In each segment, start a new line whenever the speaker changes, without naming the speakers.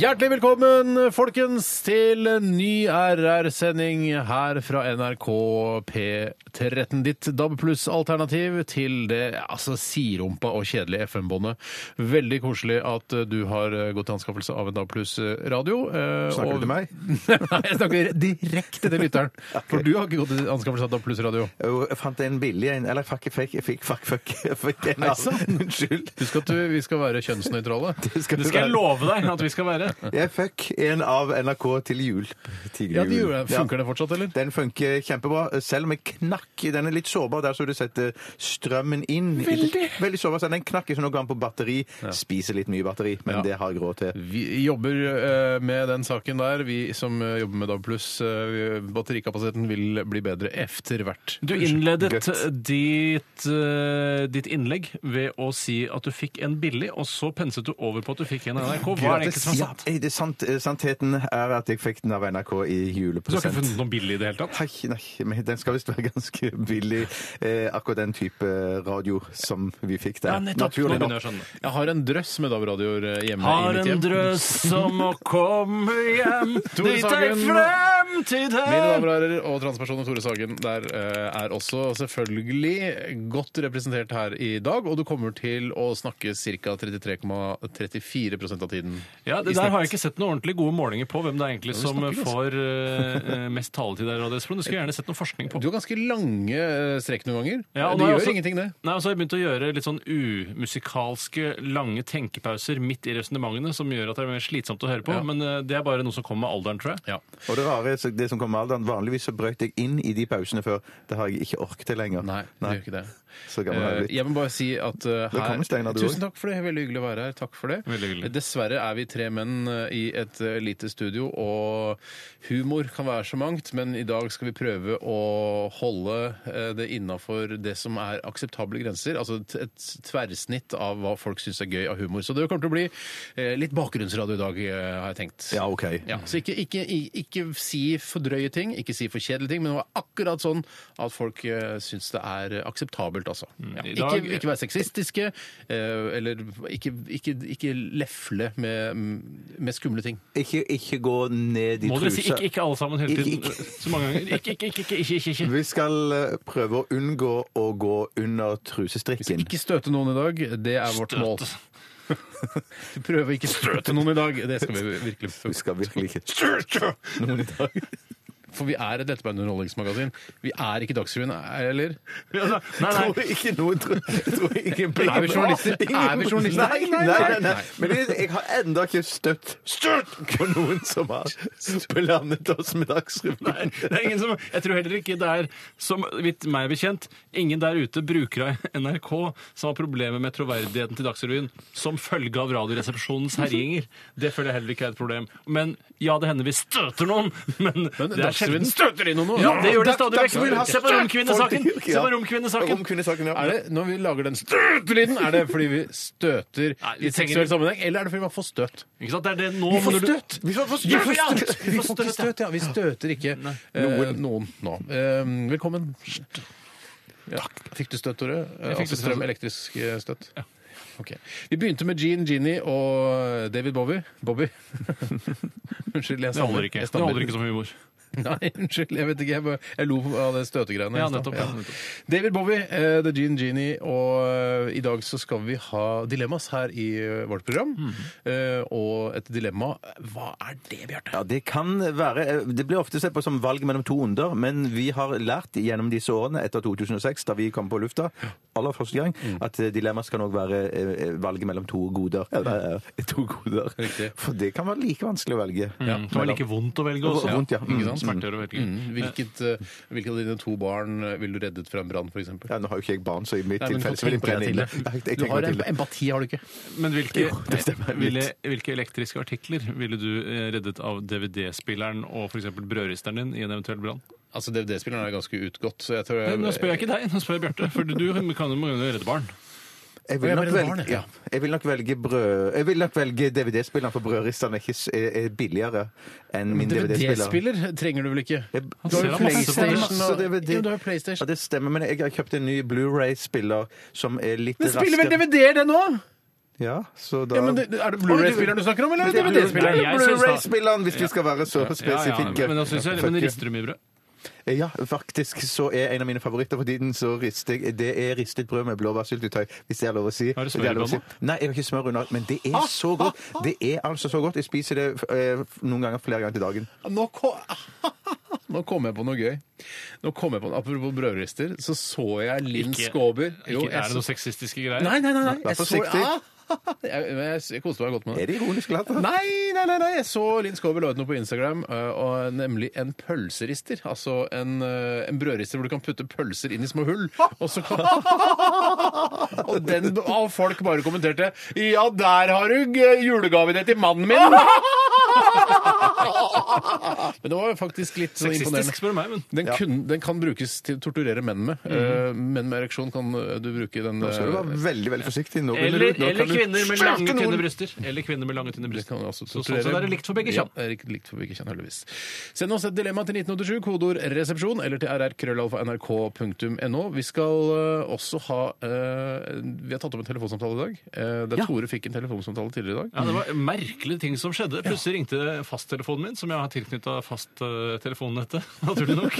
Hjertelig velkommen, folkens, til en ny RR-sending her fra NRK P13. Ditt DAB pluss-alternativ til det altså siderumpa og kjedelige FM-båndet. Veldig koselig at eh, du har eh, gått til anskaffelse av en DAB pluss-radio.
Snakker du til meg?
Nei, jeg snakker direkte til lytteren. For du har ikke gått til anskaffelse av DAB pluss-radio.
Jo, Jeg fant en billig en. Eller fuck, jeg fikk, jeg fikk fuck, fuck, jeg fikk en
Nei, sånn. sant?
Unnskyld.
Husk at du, vi skal være kjønnsnøytrale.
Det skal
Det
du
skal jeg
være.
love deg at vi skal være.
Jeg fikk en av NRK til jul. Til
Ja, det
jul.
gjorde jeg.
Ja.
Funker det fortsatt, eller?
Den funker kjempebra, selv om jeg knakk i den. er litt sårbar der så du setter strømmen inn. i-
Veldig.
Veldig sårbar, så den knakk ikke noe gang på batteri. Spiser litt mye batteri, men
Ja.
det har jeg råd til.
Vi jobber eh, med den saken der, vi som eh, jobber med DAB+. eh, batterikapasiteten vil bli bedre efter hvert.
Du innledet ditt, eh, ditt innlegg ved å si at du fikk en billig, og så penset du over på at du fikk en av NRK. Hva er det egentlig som er
Ja,
sant?
det er sant, Eh, Sannheten er at jeg fikk den av NRK i
Du har ikke
julepresent.
funnet noen billig i det hele tatt?
Nei, nei, men den skal visst være ganske billig, eh, akkurat den type radio som vi fikk der.
Ja, nettopp. Nå
Naturlig nok.
begynner jeg å skjønne.
Jeg har en drøss med DAB-radioer eh, hjemme. i
Har
mitt
en
hjem.
drøss som må komme hjem
Tore
dit ei
Sagen.
fremtid
Mine
her.
damer og herrer og transpersonen Tore Sagen der eh, er også selvfølgelig godt representert her i dag, og du kommer til å snakke ca. 33,34 av tiden.
Ja, det
i
Der
snitt.
har jeg ikke sett noen ordentlig gode målinger på hvem det er egentlig som
snakker vi, altså.
får eh, eh, mest taletid her. i Radioresepsjonen. Det skulle jeg gjerne sett noe forskning på.
Du har ganske lange eh, strekk noen ganger.
Ja, og nå
det
har
gjør
jeg også-
ingenting, det.
Nei, og så har jeg begynt å gjøre litt sånn umusikalske, lange tenkepauser midt i resonnementene, som gjør at det er mer slitsomt å høre på,
Ja.
men eh, det er bare noe som kommer med alderen, tror jeg.
Ja.
Og det rare er så- det som kommer med alderen, vanligvis så brøt jeg inn i de pausene før. Det har jeg ikke ork til lenger.
Nei, det gjør ikke det.
Så gammel har jeg
Eh,
blitt.
Jeg må bare si at eh, her
Velkommen, Steinar, du
Tusen
også.
takk for det. Veldig hyggelig å være her. Takk for det. Eh,
Veldig hyggelig.
Dessverre er vi tre menn eh, i et eh, lite studio, og humor kan være så mangt, men i dag skal vi prøve å holde eh, det innafor det som er akseptable grenser. Altså et- et tverrsnitt av hva folk syns er gøy av humor. Så det kommer til å bli eh, litt bakgrunnsradio i dag, eh, har jeg tenkt.
Ja, Ah, OK.
Ja, så ikke, ikke, i- ikke si for drøye ting, ikke si for kjedelige ting, men det var akkurat sånn at folk uh, syns det er akseptabelt, altså. Ja.
i dag-
Ikke, ikke være sexistiske, eh, eller ikke, ikke, ikke lefle med, med skumle ting.
Ikke, ikke gå ned i
Må
trusa.
dere si ikke, ikke alle sammen hele
Ikke,
tiden?
ikke.
Så mange ganger. Ikke, ikke, ikke, ikke, ikke, ikke.
Vi skal eh, prøve å unngå å gå under trusestrikken.
Ikke støte noen i dag, det er vårt mål. Prøve å ikke støte noen i dag, det skal vi virkelig
Vi skal virkelig ikke støte noen i dag.
For vi er et lettbeint underholdningsmagasin. Vi er ikke Dagsrevyen, eller?
Ja, da- Nei,
Jeg
nei.
tror ikke noen tror, jeg tror ikke
Er vi journalister? Er vi journalister?
Nei, nei, nei. nei, nei. Men jeg, jeg har enda ikke støtt støtt på noen som har blandet oss med
Nei,
Dagsrevyen.
det er ingen som, jeg tror heller ikke det er, som vidt meg bekjent, ingen der ute bruker av NRK som har problemer med troverdigheten til Dagsrevyen som følge av Radioresepsjonens herjinger. Det føler jeg heller ikke er et problem. Men ja, det hender vi støter noen, men,
Men
det er
Dagsrevyen
sjelden
støter inn noen nå!
Ja, det gjør det
Dag-
stadig vekk.
Dagsrevyen har
Se på
støtt
romkvinnesaken!
folk.
Se på romkvinnesaken.
Romkvinnesaken, ja.
Er det, når vi lager den støtelyden, er det fordi vi støter
Nei,
i
vi trenger
seksuell
ikke-
sammenheng, eller er det fordi man får støt?
Ikke sant? Det er det nå
Vi får
når du-
støtt!
Vi får- får
Ja,
støtt!
vi får støtt!
Vi får ikke støt, ja. Vi støter ikke eh, noen nå. Eh, velkommen. Ja. Fikk du støtt, Tore? Eh,
fikk
Altså
støtt.
strøm, elektrisk eh, støtt? Ok. Vi begynte med Gene Genie og David Bowie. Bobby. unnskyld, jeg
Det holder ikke.
Jeg
Det holder ikke som humor.
Nei, unnskyld. Jeg vet ikke. Jeg, bare, jeg lo av det støtegreiene.
Ja,
i stad.
nettopp, ja, nettopp.
David Bowie, eh, The Gene Genie, og eh, i dag så skal vi ha dilemmas her i eh, vårt program. Eh, og et dilemma Hva er det, Bjarte?
Ja, det kan være eh, Det blir ofte sett på som valg mellom to onder, men vi har lært gjennom disse årene etter 2006, da vi kom på lufta aller første gang,
Mm.
at dilemmas kan òg være eh, valget mellom to goder. Eller eh, to goder.
Riktig.
For det kan være like vanskelig å velge.
Ja, det var like vondt å velge også.
Og vondt, ja.
Ikke sant?
Mm.
Smerter og velger.
Mm, hvilket, eh, hvilke av dine to barn eh, ville du reddet fra en brann, f.eks.?
Ja, nå har jo ikke jeg barn, så i mitt
Nei, men
tilfelle så vil jeg
tenk på
brenne
deg
inne.
til det.
Ja, jeg- jeg
Du
tenker
har
meg til
em-
det.
empati, har du ikke?
Men hvilke,
Jo, det stemmer litt.
ville, hvilke elektriske artikler ville du eh, reddet av DVD-spilleren og f.eks. brødristeren din i en eventuell brann?
Altså, DVD-spilleren er ganske utgått, så jeg tror
Nå spør jeg ikke deg, nå spør jeg Bjarte. For du kan jo må jo redde barn.
Jeg
Å,
vil
ja,
nok
men det var
velge,
det, ja.
ja. jeg vil nok velge brød... Jeg vil nok velge DVD-spilleren, for brødristene er, ikke s- er er billigere enn min DVD-spiller.
DVD-spiller trenger du vel ikke?
Jeg-
Du har jo
ser masse på det.
PlayStation.
Masse
Og,
DVD.
jo, du har jo
Ja,
PlayStation.
det stemmer, men jeg har kjøpt en ny Blu-ray-spiller som er litt
Men spiller vel
raskere.
DVD-er, det nå?
Ja, så da...
Ja, men det, er det Blu-ray-spilleren du snakker om, eller er det
Men det er
DVD-spilleren?
Nei, jeg synes da-
Blu-ray-spilleren, hvis vi skal være så
Ja, ja,
spesifikke.
men, også, synes jeg, men rister du mye brød?
Ja, faktisk så er en av mine favoritter for tiden så rister jeg, Det er ristet brød med blåbærsyltetøy, hvis det er lov å si.
Har du smør
Det er lov å
i
si. Nei, jeg har ikke smør under. Men det
Ah,
er så godt. Det er altså så godt. Jeg spiser det eh, noen ganger flere ganger til dagen.
Nå, ko- Nå kom jeg på noe gøy. Nå kom jeg på, Apropos brødrister, så så jeg Linn
Ikke-
Skåber.
Ikke, er det
jeg
noen sexistiske greier?
Nei, nei, nei. nei.
Vær
Jeg, så,
forsiktig.
Ah, jeg, jeg, jeg koste meg godt med det.
Er det ironisk glatt? da?
Nei, nei, nei, nei, jeg så Linn Skåber la ut noe på Instagram, øh, og nemlig en pølserister. Altså en, øh, en brødrister hvor du kan putte pølser inn i små hull. Og, så kan... og den av folk bare kommenterte Ja, der har du g- julegaven din til mannen min! Men det var jo faktisk litt sånn imponerende.
Sexistisk, spør du meg, men
Den, kun, den kan brukes til å torturere menn med. Eh, menn med ereksjon kan øh, du bruke den
Nå Mhm. skal du være
øh,
veldig veldig forsiktig. Nå begynner
eller,
du- nå
eller
kan du-
kvinner med
Slakte
lange,
noen!
tynne bryster. Eller kvinner med lange, tynne
Det
bryster.
kan også
Så sånn
torturere.
sett er det likt for begge kjønn.
Ja, det er likt- likt for begge kjønn, heldigvis. Send oss et dilemma til 1987, kodeord 'resepsjon', eller til rrkrøllalfa.nrk.no. Vi skal eh, også ha eh, Vi har tatt opp en telefonsamtale i dag. Eh, der
Ja.
Tore fikk en telefonsamtale tidligere i dag.
Ja, Det var merkelige ting som skjedde. Plutselig ringte fasttelefonen min, som jeg har tilknytta fasttelefonettet, naturlig nok.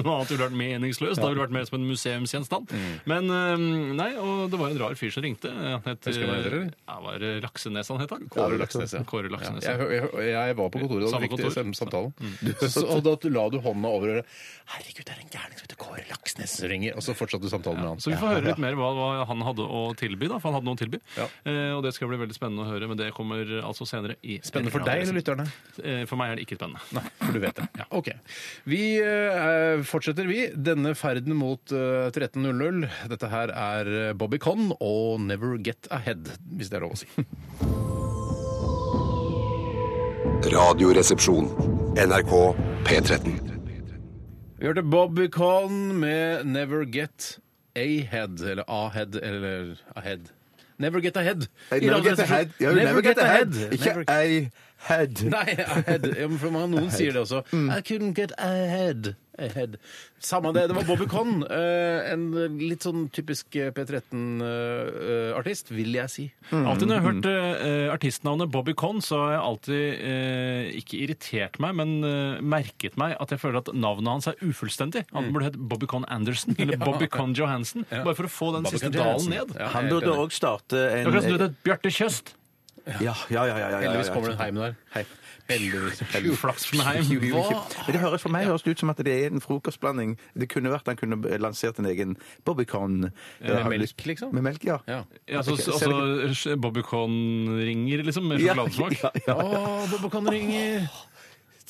Noe annet ville vært meningsløst. Da ville det vært mer som en museumsgjenstand.
Mm.
Men øhm, nei, og det var en rar fyr som ringte. Han het
Husker du hva han heter, eller?
ja, var det Laksenes han het, da?
Kåre Laksnes, ja.
Kåre Laksnes,
Ja,
ja.
jeg, jeg, jeg var på kontoret da
Samme
vi fikk til
kontor. Mm.
selve samtalen. Så, og da la du hånda over øret. 'Herregud, det er en gærning som heter Kåre Laksnes som ringer.' Og så fortsatte du samtalen med han.
Så vi får høre litt mer hva, hva han hadde å tilby, da, for han hadde noe å tilby.
Ja.
Eh, og det skal bli veldig spennende å høre, men det kommer altså senere. i
Spennende for deg eller lytterne?
Eh, For meg er det ikke spennende.
Nei, for du vet det. Ok. Vi eh, fortsetter, vi. Denne ferden mot eh, 13.00. Dette her er eh, Bobby Conn og Never Get Ahead, hvis det er lov å si.
Radioresepsjon. NRK P13.
Vi hørte Bobby Conn med Never Get Ahead, eller Ahead, eller Ahead. Never Get Ahead. I
Hey, Never get
radioresepsjonen.
ahead. Ja,
Never get ahead.
Ikke
Never-
ei head.
Nei, ahead. Ja, men for mange- noen sier det også. I couldn't get ahead. ahead. Samme det. Det var Bobby Conn. eh, En litt sånn typisk eh, P13-artist, vil jeg si.
Alltid når jeg har hørt
Mm.
eh, artistnavnet Bobby Conn, så har jeg alltid eh, ikke irritert meg, men eh, merket meg at jeg føler at navnet hans er ufullstendig. Han
Mm.
burde hett Bobby Conn Anderson eller Bobby Conn Johansen, bare for å få den
Bobby
siste
Conn
dalen
Johansen.
ned.
Ja,
Han
jeg er
burde
helt enig.
òg starte en
Akkurat som du heter Bjarte Tjøst.
Ja, ja, ja. ja, ja, ja, ja,
Heldigvis
ja.
kommer det en heim der. Heldigvis.
Uflaks for meg.
Hva?
Men det høres for meg høres det ut som at det er en frokostblanding. Det kunne vært han kunne lansert en egen eh, Bobbycon. Med
melk, liksom?
Med melk, ja.
Ja.
Ja, så,
Ok,
så,
ser
altså, Bobby Conn-ringer, liksom, med
Ja,
sjokoladesmak.
ja, ja.
Å, Bobby Conn ringer!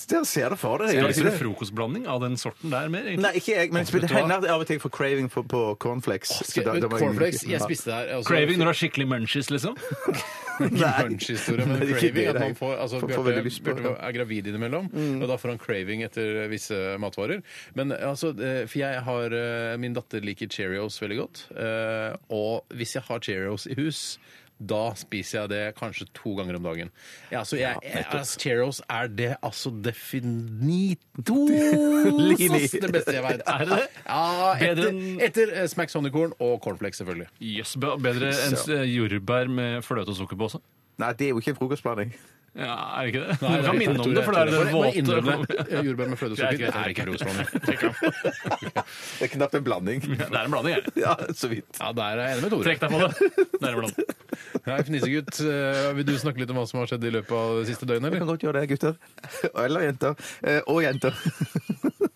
Dere ser det for dere.
Jeg
gjør
liker en
dere ikke det?
frokostblanding av den sorten der mer, egentlig.
Nei, ikke jeg, men det
Vet du hva?
hender at jeg av og til får craving for, på cornflakes. Så da- da må jeg-
Cornflakes. Jeg spiste det her. altså-
Craving når du har skikkelig munchies, liksom.
Ikke
Nei.
punch-historie, men
Nei, det er ikke
craving.
det
At man
jeg
får, altså,
får- får
Bjarte,
veldig lyst på,
Bjarte
ja. Mm.
er gravid innimellom, og da får han craving etter visse matvarer. Men altså, eh, for jeg har eh, Min datter liker Cheerios veldig godt, eh, og hvis jeg har Cheerios i hus da spiser jeg det kanskje to ganger om dagen. Ja, altså, jeg, jeg, altså, Cheerios er det altså definito altså, det beste jeg veit.
Er det det?
Ja,
Bedre
etter,
enn-
etter eh, Smack Sonnycorn og cornflakes, selvfølgelig.
Jøss, be- bedre enn s- jordbær med fløte og sukker på også.
Nei, det er jo ikke en frokostblanding.
Ja, er det ikke det?
Nei,
du kan
jeg
minne om
tror
det,
jeg
for det
tror
er det
Bare- bare innrøm det.
våte
Jordbær med fløte og
Greit,
sukker. Det er
greit,
ikke
greit.
frokostblanding.
Det er knapt en blanding.
Det er en blanding, jeg.
Ja, så vidt.
Ja, der er jeg enig med Tore.
Trekk deg på det. Det er en blanding.
Nei, Fnisegutt, eh, vil du snakke litt om hva som har skjedd i løpet av det siste døgnet?
Vi
Eller?
kan godt gjøre det, gutter. Eller jenter. Eh, Og jenter.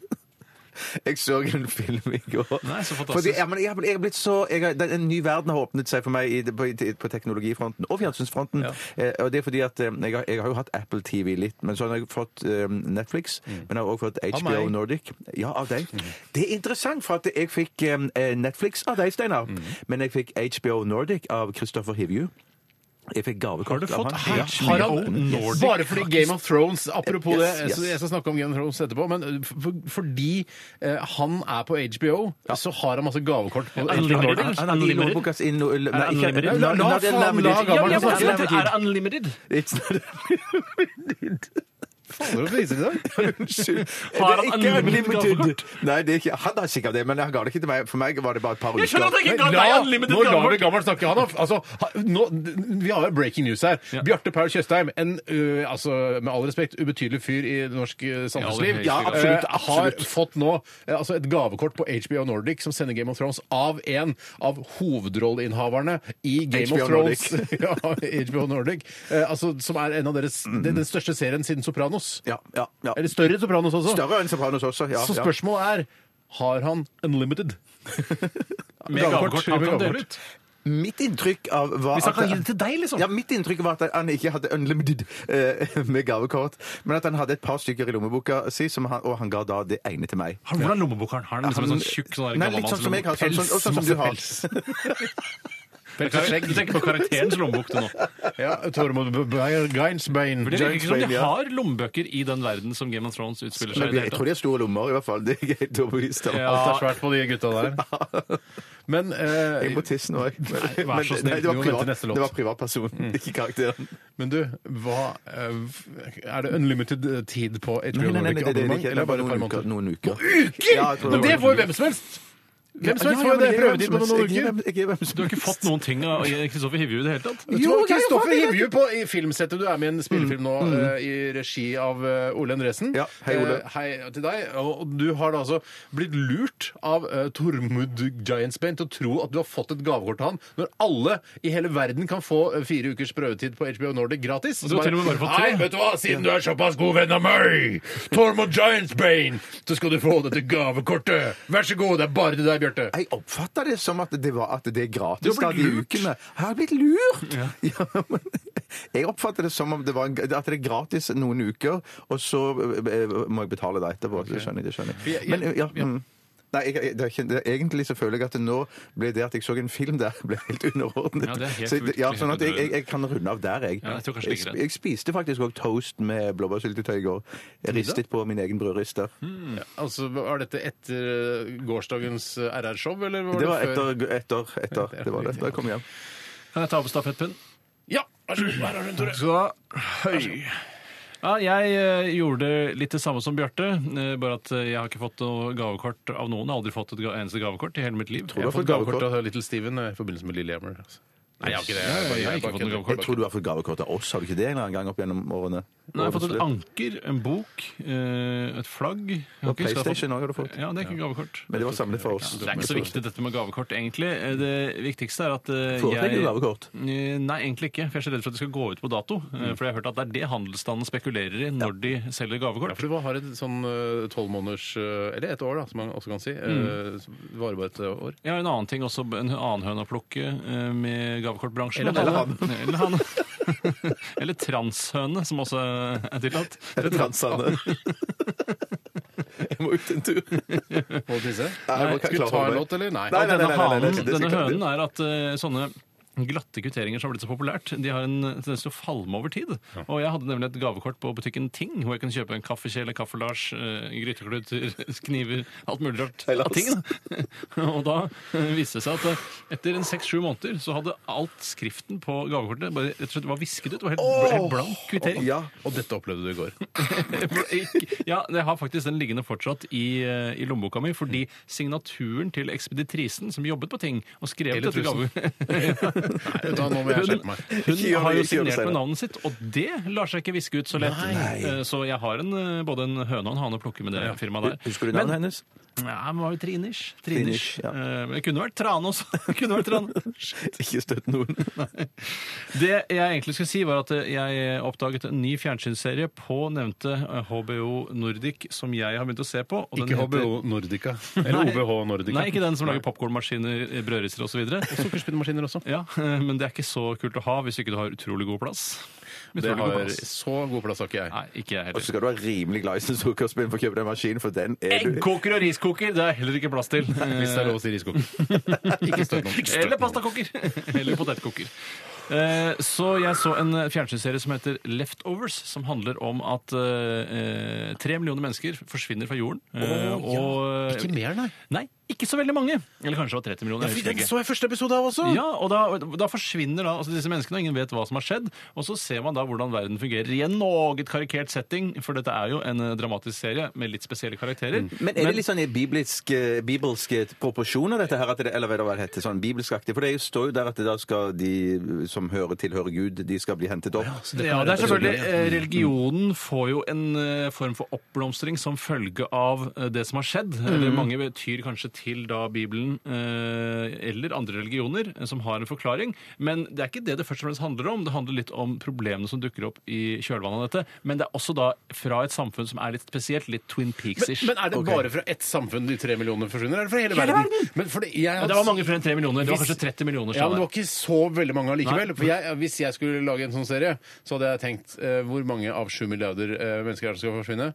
Jeg så en film i går.
Nei, så fantastisk.
Fordi, ja, men jeg, har blitt- jeg har blitt så, jeg har, den- En ny verden har åpnet seg for meg i, på, i- på teknologifronten og fjernsynsfronten. Eh, og det er fordi at eh, jeg har, jeg har jo hatt Apple TV litt, men så har jeg fått eh, Netflix.
Mm.
Men jeg har også fått HBO
meg.
Nordic. Ja, av deg. Det er interessant, for at jeg fikk
Mm.
eh, Netflix av deg, Steinar. Men jeg fikk HBO Nordic av Kristoffer Hivju. Jeg fikk gavekort
Har du fått
av han.
Hatch
Ja.
Harald
Nordic?
Bare fordi Game of Thrones Apropos
Yes,
det, så
yes.
jeg skal snakke om Game of Thrones etterpå. Men for, fordi eh, han er på HBO, så har han masse gavekort. på
Unlimited.
HBO.
Han
Nordic?
er i
Unlimited?
Nordbokas inn- Nei, ikke-
Unlimited?
Nei,
La-
not
la faen
unlimited.
la
Ja,
gammel
men
altså,
man
jeg
snakker
vet, Er det unlimited?
It's not
Fader, hvor priser de deg?
Unnskyld.
Har han
Det er
unlimited gavekort?
Nei, det er ikke, han har sikkert det, men han ga det ikke til meg. For meg var det bare et par
Jeg skjønner at
uker.
jeg ikke
Nei,
ga deg
la-
unlimited
Nå lar vi
gavekort!
gammel snakke. Han har, altså, ha- nå, vi har jo breaking news her.
Ja.
Bjarte Paul Tjøstheim, en ø, altså, med all respekt ubetydelig fyr i det norske ø, samfunnsliv,
Ja,
det er helt
ø,
sikkert.
har fått nå ø, altså, et gavekort på HBO Nordic som sender Game of Thrones av en av hovedrolleinnehaverne i Game
HBO
of Thrones. ja, HBO Nordic. Eh, altså, som er en av deres, den, den største serien siden Sopranos.
Ja, ja, ja.
Eller større enn Sopranos også.
Større enn Sopranos også. Ja,
Så
ja.
spørsmålet er har han unlimited?
Med gavekort. Han kan dele ut.
Mitt inntrykk av var
Hvis han kan gi det til deg, liksom.
Ja, mitt inntrykk var at han ikke hadde unlimited eh, med gavekort, men at han hadde et par stykker i lommeboka si, som han, og han ga da det ene til meg.
Har han- Hvordan lommebok har han? Har han liksom en sånn tjukk sånn der
Nei,
gammel
litt
mann
sånn som jeg har.
lommebok?
Sånn, sånn, og sånn som
Pels,
du har.
masse
Du tenker på karakterens lommebok du nå.
Ja, Tormod B- B- Geinsbein.
For Det virker ikke
James
som
Bond,
de
ja.
har lommebøker i den verden som Game of Thrones utspiller seg
Men
i. det
jeg
hele
tror de har store lommer, i hvert fall. Det er jeg helt overbevist om.
Ja.
Alt er svært på de gutta der. Men
Jeg
eh,
må tisse nå, jeg. Men,
Nei, vær så
men-
snill,
nei, det,
vi
var
må vente
privat,
neste låt. Mm.
det var privatperson, ikke karakteren.
men du, hva eh, Er det unlimited eh, tid på HBO
Nei, nei, nei,
Nordic?
det, det, det, er
abonnement,
ikke. det
eller
er bare
et
noen
par måneder?
uker. Noen uker. Ja, jeg
Uker?!
tror
Men
det
det
var-
får jo hvem som helst! Hvem som helst får jo det prøvetid på noen uker.
tatt. Du har ikke fått noen ting av Kristoffer Hivju i det hele tatt?
Jeg
Jo,
tror
jeg har
Kristoffer
fått det,
Hivju på i filmsettet. Du er med i en spillefilm nå eh, i regi av eh, Ole Endresen.
Ja, hei, Ole.
Eh, hei til deg. Og og du har da altså blitt lurt av eh, Tormod Giantsbane til å tro at du har fått et gavekort av han, når alle i hele verden kan få eh, fire ukers prøvetid på HBO Nordic gratis.
Og du har til og med bare fått tre.
Nei, vet du hva, siden du er såpass god venn av meg, Tormod Giantsbane, så skal du få dette gavekortet. Vær så god, det er bare til deg, Bjarte.
Jeg oppfatta det som at det, var, at det er
Du
gratis. da,
har blitt
de
lurt.
ukene. Jeg har blitt lurt! Ja. men jeg oppfatter det som om det var en, at det er gratis noen uker, og så eh, må jeg betale det etterpå. Det skjønner jeg. det skjønner
Ja,
jeg.
ja,
Men, eh, ja, mm. Nei, jeg, jeg- det er ikke, det, egentlig så føler jeg at det nå ble det at jeg så en film der, ble helt underordnet.
Ja, det er helt
så, ja,
fryktelig.
sånn at jeg, jeg, jeg kan runde av der, jeg.
Ja, jeg tror kanskje det er greit.
jeg, spiste faktisk òg toast med blåbærsyltetøy i går. Jeg ristet på min egen brødrister.
Hm.
Altså, Var dette etter eh, gårsdagens RR-show, eller var det,
Det var
før?
etter, etter, etter. Det var det. Da jeg kom hjem.
Kan jeg ta opp stafettpinnen?
Ja, vær så god. Her har du en, Tore.
Ja, jeg eh, gjorde litt det samme som Bjarte, eh, bare at eh, jeg har ikke fått noe gavekort av noen. Jeg har aldri fått et ga eneste gavekort i hele mitt liv.
Jeg
du
har
har fått
fått gavekort
gavekort
av Little Steven eh, i forbindelse med Lillehammer. Altså. Nei, jeg har ikke det.
Jeg har ikke fått noe
Jeg tror du har fått gavekort av oss, har du ikke det en eller annen gang opp gjennom årene?
Nei, jeg har fått et
Årene
anker, en bok, eh, et flagg. Jeg har
Og
ikke huska
PlayStation
jeg
også har du fått.
Ja, det er ikke gavekort.
Men det var samlet for oss.
Det er ikke så viktig dette med gavekort, egentlig. Eh, Det viktigste er at eh,
Foretrekker
jeg
du gavekort?
Eh, Nei, egentlig ikke. For jeg er så redd for at det skal gå ut på dato. Eh, For jeg har hørt at det er det handelsstanden spekulerer i når de selger
Ja,
gavekort.
for du har et sånn tolv måneders eh, Eller et år, da, som man også kan si. Mm. Varer bare et år.
Jeg har en annen ting også, en annen høne å plukke eh, med gavekortbransjen.
Eller han.
Eller, han. Eller transhøne, som også er tillatt.
Eller Transane. Jeg må ut en tur.
Må du tisse?
Nei, jeg må
Skal vi
klare
ta
meg.
en låt, eller? Nei.
Nei, nei,
denne,
nei,
hanen,
det skal
denne
ikke-
hønen er at eh, sånne glatte kvitteringer som har blitt så populært, de har en tendens til å falme over tid. Og jeg hadde nemlig et gavekort på butikken Ting, hvor jeg kunne kjøpe en kaffekjele, kaffelasj, eh, grytekluter, kniver, alt mulig rart
Heilas.
av ting. Da. Og da eh, viste det seg at eh, etter en seks-sju måneder så hadde alt skriften på gavekortet bare rett og slett var visket ut. Det var helt, helt blank kvittering.
Ja.
Og dette opplevde du i går.
Ja, jeg har faktisk den liggende fortsatt i, eh, i lommeboka mi, fordi signaturen til ekspeditrisen som jobbet på ting og skrev
Eller
dette
tusen.
gavet
Nei, da, nå må jeg skjerpe meg.
hun
Ikke gjør det, ikke gjør
har jo
det,
signert med
Steinar.
navnet sitt, og det lar seg ikke viske ut så lett. Eh, Så jeg har en, eh, både en høne og en hane å plukke med det firmaet der.
Husker du navnet hennes?
Ja, men var jo Trinish.
Trinish,
Trinish.
ja.
Eh, Men det kunne vært Trane også. Det kunne vært Trane.
Ikke støtt noen.
Det jeg egentlig skulle si, var at eh, jeg oppdaget en ny fjernsynsserie på nevnte eh, HBO Nordic som jeg har begynt å se på. og den
Ikke
heter-
HBO Nordica. Eller OBH Nordica.
Nei, ikke den som lager popkornmaskiner, eh, brødrister osv.
Sukkerspinnmaskiner også.
Ja, eh, men det er ikke så kult å ha hvis ikke du har utrolig god plass.
Det
Utrolig god
har
plass.
så god plass, har ikke jeg.
Nei, ikke jeg
Og så
heller.
skal du være rimelig glad i sin sukkerspinn for å kjøpe den maskinen, for den er du
Eggkoker og riskoker, det er heller ikke plass til.
Hvis det er lov å si riskoker. Ikke støtt noen.
Eller pastakoker. Eller potetkoker. Eh, Så jeg så en eh, fjernsynsserie som heter Leftovers, som handler om at eh, eh, tre millioner mennesker forsvinner fra jorden. eh, og-
Ikke mer, nei.
Nei, ikke så veldig mange. Eller kanskje det var 30 millioner. jeg husker
Den
ikke.
så jeg første episode av også!
Ja, og da, da forsvinner da, altså disse menneskene, og ingen vet hva som har skjedd. Og så ser man da hvordan verden fungerer i en noe karikert setting, for dette er jo en eh, dramatisk serie med litt spesielle karakterer.
Men er det litt sånn i bibelske, bibelske proporsjoner, dette her? At det, eller hva det heter, sånn bibelskaktig? For det er jo- står jo der at da skal de som hører tilhører Gud, de skal bli hentet opp.
ja, det er selvfølgelig
Mm.
eh, Religionen får jo en eh, form for oppblomstring som følge av eh, det som har skjedd.
Mm.
Eller mange betyr kanskje til da Bibelen eh, eller andre religioner eh, som har en forklaring. Men det er ikke det det først og fremst handler om. Det handler litt om problemene som dukker opp i kjølvannet av dette. Men det er også da fra et samfunn som er litt spesielt, litt Twin
Men,
Peaks-ish.
men er det bare fra ett samfunn de tre millionene forsvinner, eller fra hele, verden? Men fordi jeg,
Ja, det var mange flere enn tre millioner. Det var kanskje 30 millioner.
Ja, men det
Steinar.
var ikke så veldig mange allikevel.
Nei.
For jeg, hvis jeg skulle lage en sånn serie, så hadde jeg tenkt eh, hvor mange av sju milliarder eh, mennesker er det som skal forsvinne?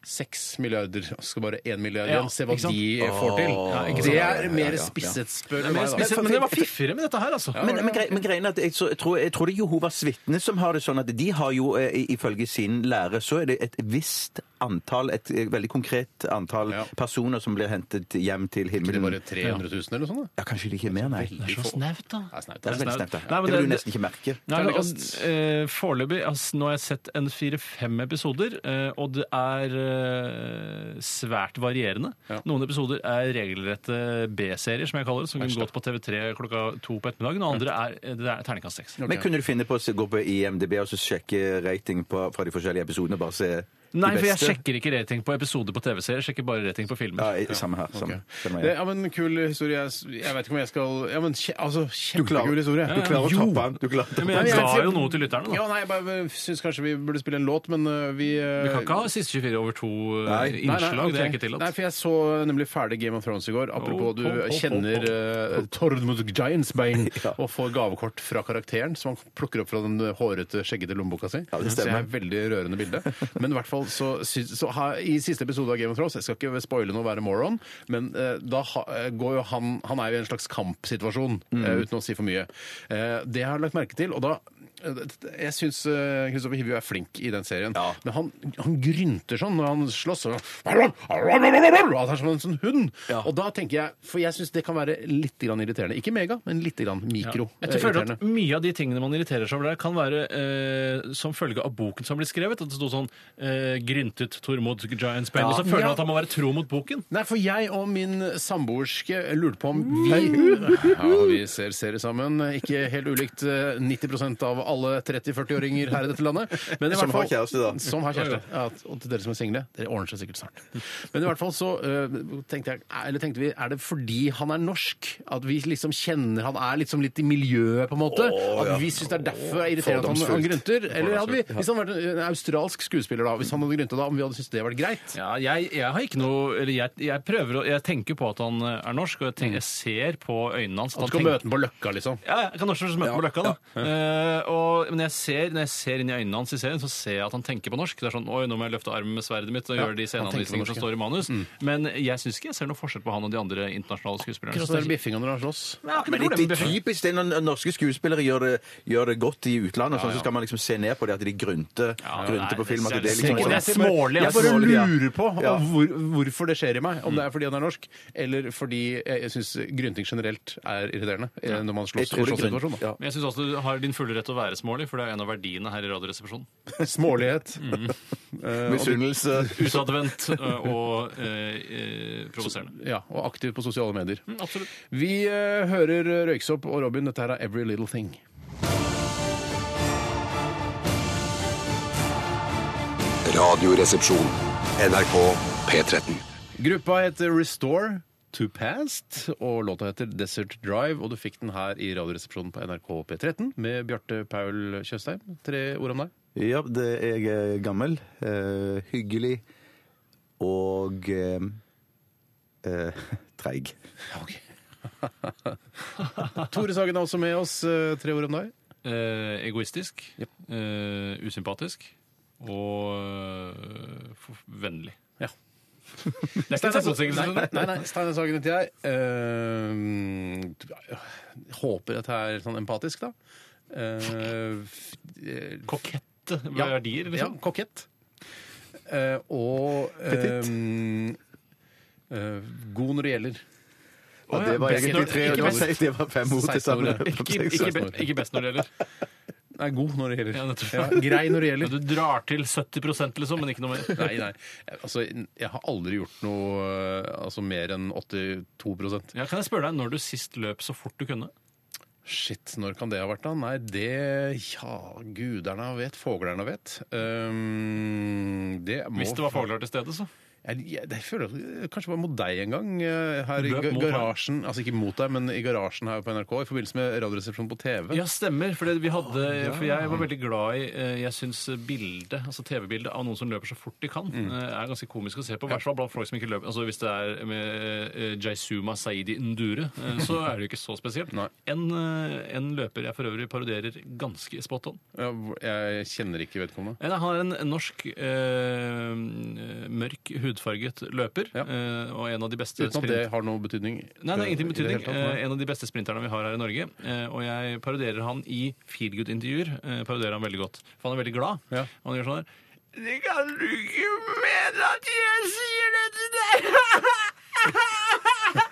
Seks milliarder. og Så skal bare én milliard
Ja,
igjen. Se hva
ikke sant?
de eh, får til.
ikke
det
sant?
er mer spisset, spør du
Men,
meg.
spesielt-
da.
men det var fiffigere med dette her, altså.
Men, men, grei, men greien er at jeg, så, jeg, tror, jeg tror det er Jehovas vitner som har det sånn at de har jo, eh, i- ifølge sin lære, så er det et visst antall, et eh, veldig konkret antall
Ja.
personer som blir hentet hjem til
Det er
himmelen.
bare 300 000 eller noe sånt? da?
Ja, kanskje det ikke er mer, nei.
Det er så snaut, da.
Det er veldig
Snaut.
snaut, da.
Nei, men
Det vil du
det-
nesten ikke merke.
Nei, men, og,
Terningkast.
eh, foreløpig altså, Nå har jeg sett en fire-fem episoder, eh, og det er eh, svært varierende.
Ja.
Noen episoder er regelrette B-serier, som jeg kaller det, som kunne gått på TV3 klokka to på ettermiddagen, og andre er, eh, det er terningkast seks.
Men kunne du finne på å se- gå på IMDb og så sjekke rating på, fra de forskjellige episodene? Bare se
Nei,
de
for jeg
beste?
sjekker ikke rating på episoder på TV-serier, jeg sjekker bare rating på filmer.
Ja, i- samme her. Samme. Samme
Det,
her.
ja, men Kul historie. Jeg, jeg vet ikke om jeg skal ja, men, kje, altså,
klarer-
Kjempekul historie.
Du klarer å
Jo.
toppe den. Du klarer å toppe
Men
den.
jeg
Nei, men
ga
jeg-
jo noe til lytterne, da.
Ja, nei, jeg bare syns kanskje vi burde spille en låt, men øh, vi øh,
Vi kan ikke ha siste 24 over to eh,
Nei, nei,
Nei, nei,
innslag, det er
ok.
ikke tillatt.
Nei, for jeg så nemlig ferdig Game of Thrones i går. Apropos
Oh,
du
oh, oh,
kjenner
oh,
uh, Tormod Giantsbein og får gavekort fra karakteren som han plukker opp fra den hårete, skjeggete lommeboka si.
det
så jeg er
stemmer.
veldig rørende bilde. Men i hvert fall så, sy- så ha, i siste episode av Game of Thrones, jeg skal ikke spoile noe og være moron, men eh, da ha, eh, går jo han Han er jo i en slags kampsituasjon, eh,
Mm.
uten å si for mye. Eh, det jeg har lagt merke til, og da eh, jeg syns Kristoffer Hivju er flink i den serien, men han, han grynter sånn når han slåss. og- Han er som en sånn hund. Og da tenker jeg, for jeg syns det kan være litt grann irriterende. Ikke mega, men litt grann mikro.
Ja.
eh,
Jeg føler
irriterende.
at Mye av de tingene man irriterer seg over der, kan være eh, som følge av boken som blir skrevet. At det sto sånn eh, 'Gryntet Tormod Giant Spain'. Og så føler
Ja.
han at han må være tro mot boken.
Nei, for jeg og min samboerske lurte på om vi Ja, vi ser serier sammen. Ikke helt ulikt eh, 90 av alle 30-40-åringer her i dette landet. Men i
Som
hvert
har kjæreste, da.
Som har kjæreste. Ja, og til dere som er single, det ordner seg sikkert snart. Men i hvert fall så eh, tenkte jeg, eller tenkte vi, er det fordi han er norsk? At vi liksom kjenner Han er liksom litt i miljøet, på en måte? At vi syns det er derfor det er irriterende at han, han grynter? Eller hadde vi, hvis han hadde vært en australsk skuespiller, da, hvis han hadde grynta da, om vi hadde syntes det var greit?
Ja, jeg, jeg har ikke noe Eller jeg, jeg prøver å Jeg tenker på at han eh, er norsk, og jeg, tenker, jeg ser på øynene hans
At
han
du kan
tenker-
møte ham på Løkka, liksom?
Ja, jeg kan også møte på Løkka, da. Eh, og, men jeg ser, når jeg ser inn i øynene hans i serien, så ser jeg at han tenker på norsk. Det er sånn Oi, nå må jeg løfte armen med sverdet mitt og gjøre de
han tenker på
sceneanvisningene som
norsk,
står i manus. Men jeg syns ikke jeg ser noe forskjell på han og de andre internasjonale skuespillerne.
Hvordan er det biffinga når han slåss?
Ja,
Men
det
det,
er
det er typisk det når norske skuespillere gjør det, gjør det godt i utlandet, og sånn,
Ja, ja.
så skal man liksom se ned på det at de grynter
Ja, nei,
grynter på
det
film. At det,
ser-
er liksom
det er smålig,
Jeg
altså.
bare
Smålig, ja.
lurer på
Ja.
om hvor, hvorfor det skjer i meg. Om det er fordi han er norsk, eller fordi jeg, jeg syns grynting generelt er irriterende eh, når man
Jeg
slåss i
tror
en
det er grunn.
slåsssituasjon. da.
Ja.
Men jeg syns også du har din fulle rett til å være smålig, for det er en av verdiene her i Radioresepsjonen.
Smålighet. Eh, og,
Misunnelse.
Utadvendt ø, og eh, eh, provoserende.
ja, og aktiv på sosiale medier.
Mm, Absolutt.
Vi eh, hører Røyksopp og Robin. Dette her er Every Little Thing.
Radioresepsjon. NRK P13.
Gruppa heter Restore to Past, og låta heter Desert Drive. Og du fikk den her i Radioresepsjonen på NRK P13 med Bjarte Paul Tjøstheim. Tre ord om deg.
Ja, det, jeg er gammel, eh, hyggelig og eh, eh, treig.
Tore Sagen er også med oss. eh, Tre ord om deg.
Eh, egoistisk. eh, usympatisk. Og eh, f- vennlig.
Ja.
Det er ikke en liksom. selvmotsigelse.
Nei,
skjønner du.
nei, nei, Steinar Sagen heter Ehm, jeg. Eh, håper at jeg er sånn empatisk, da. eh, f- eh,
Kokette
ja,
verdier, liksom.
Ja, kokett. Eh, og eh, eh, god når det gjelder.
Og det var
best
egentlig
når-
tre
ikke
det var
best-
seks- Det var fem ord til
16 ord,
sammen.
ja.
Ikke, ikke, be- ikke best når det gjelder.
Nei, god når det gjelder.
Ja, nettopp.
grei når det gjelder.
Du drar til 70 liksom, men ikke noe mer.
Nei, nei. Altså, jeg har aldri gjort noe eh, altså, mer enn 82
Ja, kan jeg spørre deg når du sist løp så fort du kunne?
Shit, når kan det ha vært da? Nei, det Ja, guderne vet, foglerne vet. Um, det må
Hvis det var faglært til stede, så.
Jeg, jeg, jeg føler det kanskje var mot deg en gang eh, her i
Løp
ga-
mot meg.
garasjen. Altså ikke mot deg, men i garasjen her på NRK i forbindelse med Radioresepsjonen på TV.
Ja, stemmer. For, det vi hadde, for jeg var veldig glad i eh, Jeg syns bildet, altså TV-bildet av noen som løper så fort de kan,
Mm.
eh, er ganske komisk å se på. I hvert fall blant folk som ikke løper. Altså Hvis det er med eh, Jaisuma Saidi Ndure, eh, så er det jo ikke så spesielt.
Nei.
En, eh, en løper jeg for øvrig parodierer ganske spot on.
Ja, hvor- Jeg kjenner ikke vedkommende.
Eh, nei, Han er en norsk eh, mørk hudfarget løper,
Ja.
eh, og en av de beste
Uten at det har noen betydning.
Nei, det har ingen
eh, i det
betydning.
hele tatt, nei.
Eh, en av de beste sprinterne vi har her i Norge. Eh, og jeg parodierer han i feelgood-intervjuer. Eh, parodierer han veldig godt. For han er veldig glad.
Ja.
Og han gjør sånn her Det kan du ikke mene at jeg sier det til deg!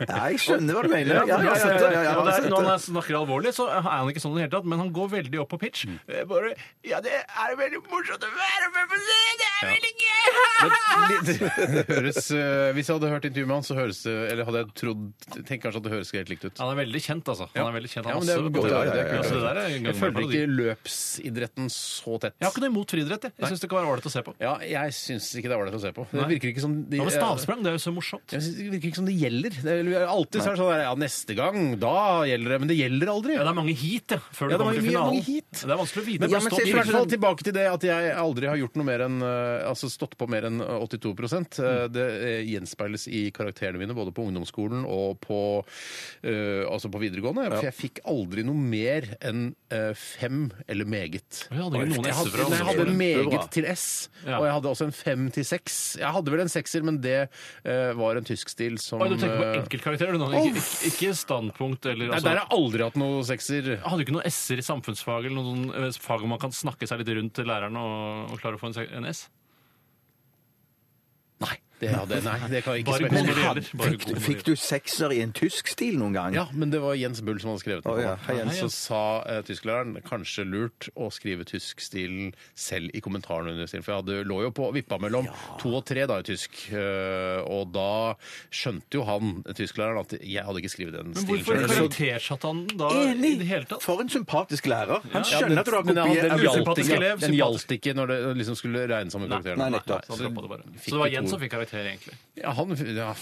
Ja, jeg skjønner hva du mener. Ja,
Ja,
ja,
men du
ja,
har
ja, ja,
sett det.
ja, jeg
Og det
har
er-
sett
Når han
det.
snakker alvorlig, så er han ikke sånn i det hele tatt, men han går veldig opp på pitch. Eh, Bare, ja, det er veldig morsomt å være med på det! Det er veldig gøy!
Det høres, eh, hvis jeg hadde hørt intervjuet med han, så høres det Eller hadde jeg trodd Tenk kanskje at det høres helt likt ut.
Han er veldig kjent, altså. Han er veldig kjent. Han
Ja,
har
men det er
masse-
godt å høre, det er
Ja,
kult.
så det der er en
Jeg
gang
følger
parodi.
ikke løpsidretten så tett.
Jeg har ikke noe imot friidrett. jeg. Jeg syns det kan være ålreit å se på.
Ja, jeg syns ikke det er ålreit å se på. Det
Nei.
virker ikke som de,
Ja, men Stavsprang det er jo så morsomt.
Jeg synes Det virker ikke som det gjelder. Det er alltid så er det sånn der, ja, neste gang, da gjelder det. Men det gjelder aldri.
Ja, det er mange heat ja, før
Ja, det er
du kommer
mange-
til finalen.
mange heat.
Det er sånn- vanskelig å vite.
Men,
hvor
ja, men
stopp-
se, i hvert fall tilbake til det at jeg aldri har gjort noe mer enn eh, altså stått på mer enn 82 Eh,
Mm.
Det eh, gjenspeiles i karakterene mine både på ungdomsskolen og på, eh, altså på videregående. For jeg fikk aldri noe mer enn eh, fem eller meget.
Jeg sånn- hadde ikke noen
Jeg
S-er fra
hadde, nei, jeg hadde
ungdomsskolen.
en
Det er bra.
meget til S,
Ja.
og jeg hadde også en fem til seks. Jeg hadde vel en sekser, men det eh, var en tysk stil som
Oi, du tenker på
eh,
enkeltkarakterer, du nå.
Uff.
Ikke, ikke- ikke standpunkt eller
Nei,
altså,
der har jeg aldri hatt noe sekser.
Hadde du ikke noen S-er i samfunnsfag eller noen sånn, eh, fag hvor man kan snakke seg litt rundt til læreren og, og klare å få en, se- en S?
Nei, det hadde jeg nei, det kan jeg ikke
Bare
spørre.
god når
Men
det
han-
gjelder. Bare
Fikk,
god når det
Altså, fikk du sekser i en tysk stil noen gang?
Ja, men det var Jens Bull som hadde skrevet den.
Å, ja. Hei,
Og
Jens.
Så sa eh, tysklæreren kanskje lurt å skrive tyskstilen selv i kommentaren under stilen. For jeg hadde, lå jo på vippa mellom to og tre da i tysk. Eh, og da skjønte jo han, tysklæreren, at jeg hadde ikke skrevet den
Men
stilen
hvorfor
selv.
karaktersatte han den da i det hele tatt?
For en sympatisk lærer. Han skjønner at du har
Men han-
kopiert
den gjaldt
Usympatisk
ikke-
elev,
Den
sympatisk.
gjaldt ikke når det liksom skulle regnes som en karakter.
Nei, nettopp.
Nei, så, han droppet det bare. så det var Jens som fikk karakter, egentlig.
Ja, han, ja,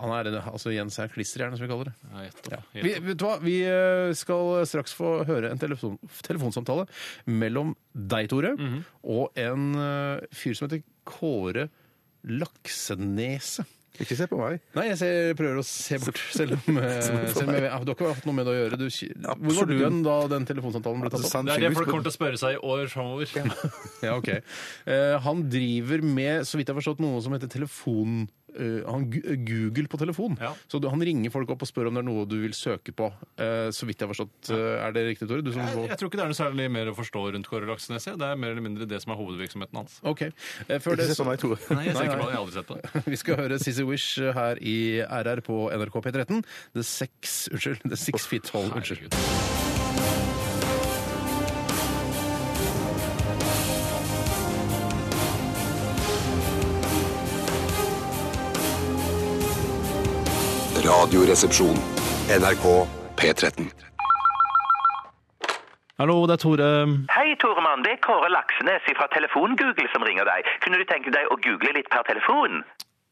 han er, altså Jens er en klisterhjerne, som vi kaller det.
Ja, gjett da,
Ja.
gjett
Vi,
da.
vet du hva? vi eh, skal straks få høre en telefon, telefonsamtale mellom deg, Tore, og en eh, fyr som heter Kåre Laksenese.
Ikke se på meg.
Nei, jeg ser, prøver å se bort, selv om, eh, selv om jeg, ja, du har ikke hatt noe med det å gjøre. Du, hvor var
Absolutt.
du hen da den telefonsamtalen ble tatt opp?
Sant,
Det er det
Sigurd
folk
spør-
kommer til å spørre seg i år framover.
Ja, ok. Eh, han driver med, så vidt jeg har forstått, noe som heter telefon... eh, han gu- Google på telefon.
Ja.
Så du, han ringer folk opp og spør om det er noe du vil søke på. Eh, så vidt jeg har forstått. eh, er det riktig, Tore? Du som
Jeg, jeg tror ikke det er noe særlig mer å forstå rundt Kåre Laksnes. jeg. Det er mer eller mindre det som er hovedvirksomheten hans.
Ok. Eh, Før
Ikke
det,
se på meg, Tore.
Nei,
Nei,
jeg, ser
nei.
ikke på det. jeg har aldri sett på det.
vi skal høre Sissy Wish eh, her i RR på NRK P13. The Six Unnskyld. The Six Feet Tall. Unnskyld.
Radioresepsjon. NRK P13.
Hallo, det er Tore.
Hei, Toremann. Det er Kåre Laksnes fra Telefon-Google som ringer deg. Kunne du tenke deg å google litt per telefon?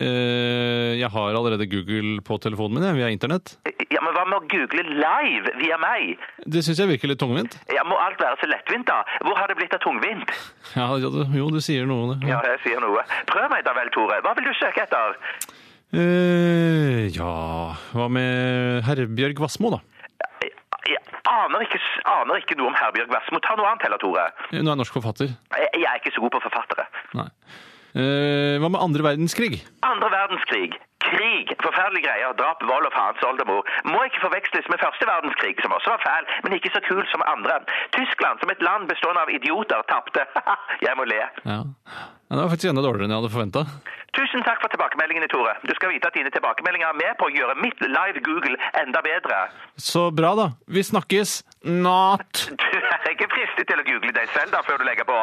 Eh, Jeg har allerede Google på telefonen min jeg, via internett.
Ja, men hva med å google live via meg?
Det syns jeg virker litt tungvint.
Ja, Må alt være så lettvint, da? Hvor har det blitt av tungvint?
Ja, ja, det- jo, du sier noe om det.
Ja, jeg sier noe. Prøv meg da vel, Tore. Hva vil du søke etter?
Eh, ja Hva med Herbjørg Wassmo, da?
Jeg, jeg aner, ikke, s- aner ikke noe om Herbjørg Wassmo. Ta noe annet heller, Tore.
Hun Eh, er norsk forfatter.
Jeg, jeg er ikke så god på forfattere.
Nei. Eh, hva med andre verdenskrig?
Andre verdenskrig. Krig, forferdelige greier, drap, vold og farens oldemor, må ikke forveksles med første verdenskrig, som også var fæl, men ikke så kul som andre. Tyskland, som et land bestående av idioter, tapte. Jeg må le.
Ja. Men det var faktisk enda dårligere enn jeg hadde forventa.
Tusen takk for tilbakemeldingene, Tore. Du skal vite at dine tilbakemeldinger er med på å gjøre mitt live Google enda bedre.
Så bra, da. Vi snakkes. Not!
Du er ikke fristet til å google deg selv da, før du legger på.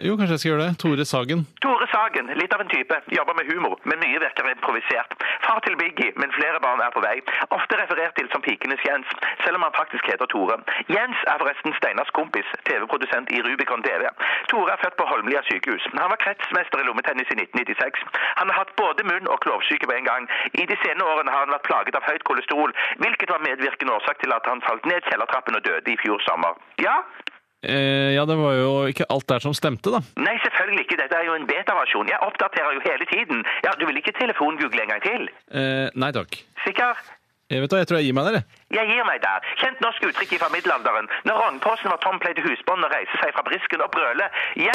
Jo, kanskje jeg skal gjøre det. Tore Sagen.
Tore Sagen, litt av en type, jobber med humor, men mye virker improvisert. Far til Biggie, men flere barn er på vei. Ofte referert til som pikenes Jens, selv om han faktisk heter Tore. Jens er forresten Steinars kompis, TV-produsent i Rubicon TV. Tore er født på Holmlia sykehus. Han var kretsmester i lommetennis i 1996. Han har hatt både munn- og klovsyke på en gang. I de senere årene har han vært plaget av høyt kolesterol, hvilket var medvirkende årsak til at han falt ned kjellertrappen og døde i fjor sommer. Ja,
Eh, ja, det var jo ikke alt der som stemte, da.
Nei, selvfølgelig ikke. Dette er jo en beta-versjon. Jeg oppdaterer jo hele tiden. Ja, Du vil ikke telefongoogle en gang til?
Eh, nei takk.
Sikker?
Jeg vet da, jeg tror jeg gir meg der, jeg.
Jeg gir meg der. Kjent norsk uttrykk fra middelalderen. Når rognposen var tompleid i husbånd og reiste seg fra brisken og brøle. Jeg...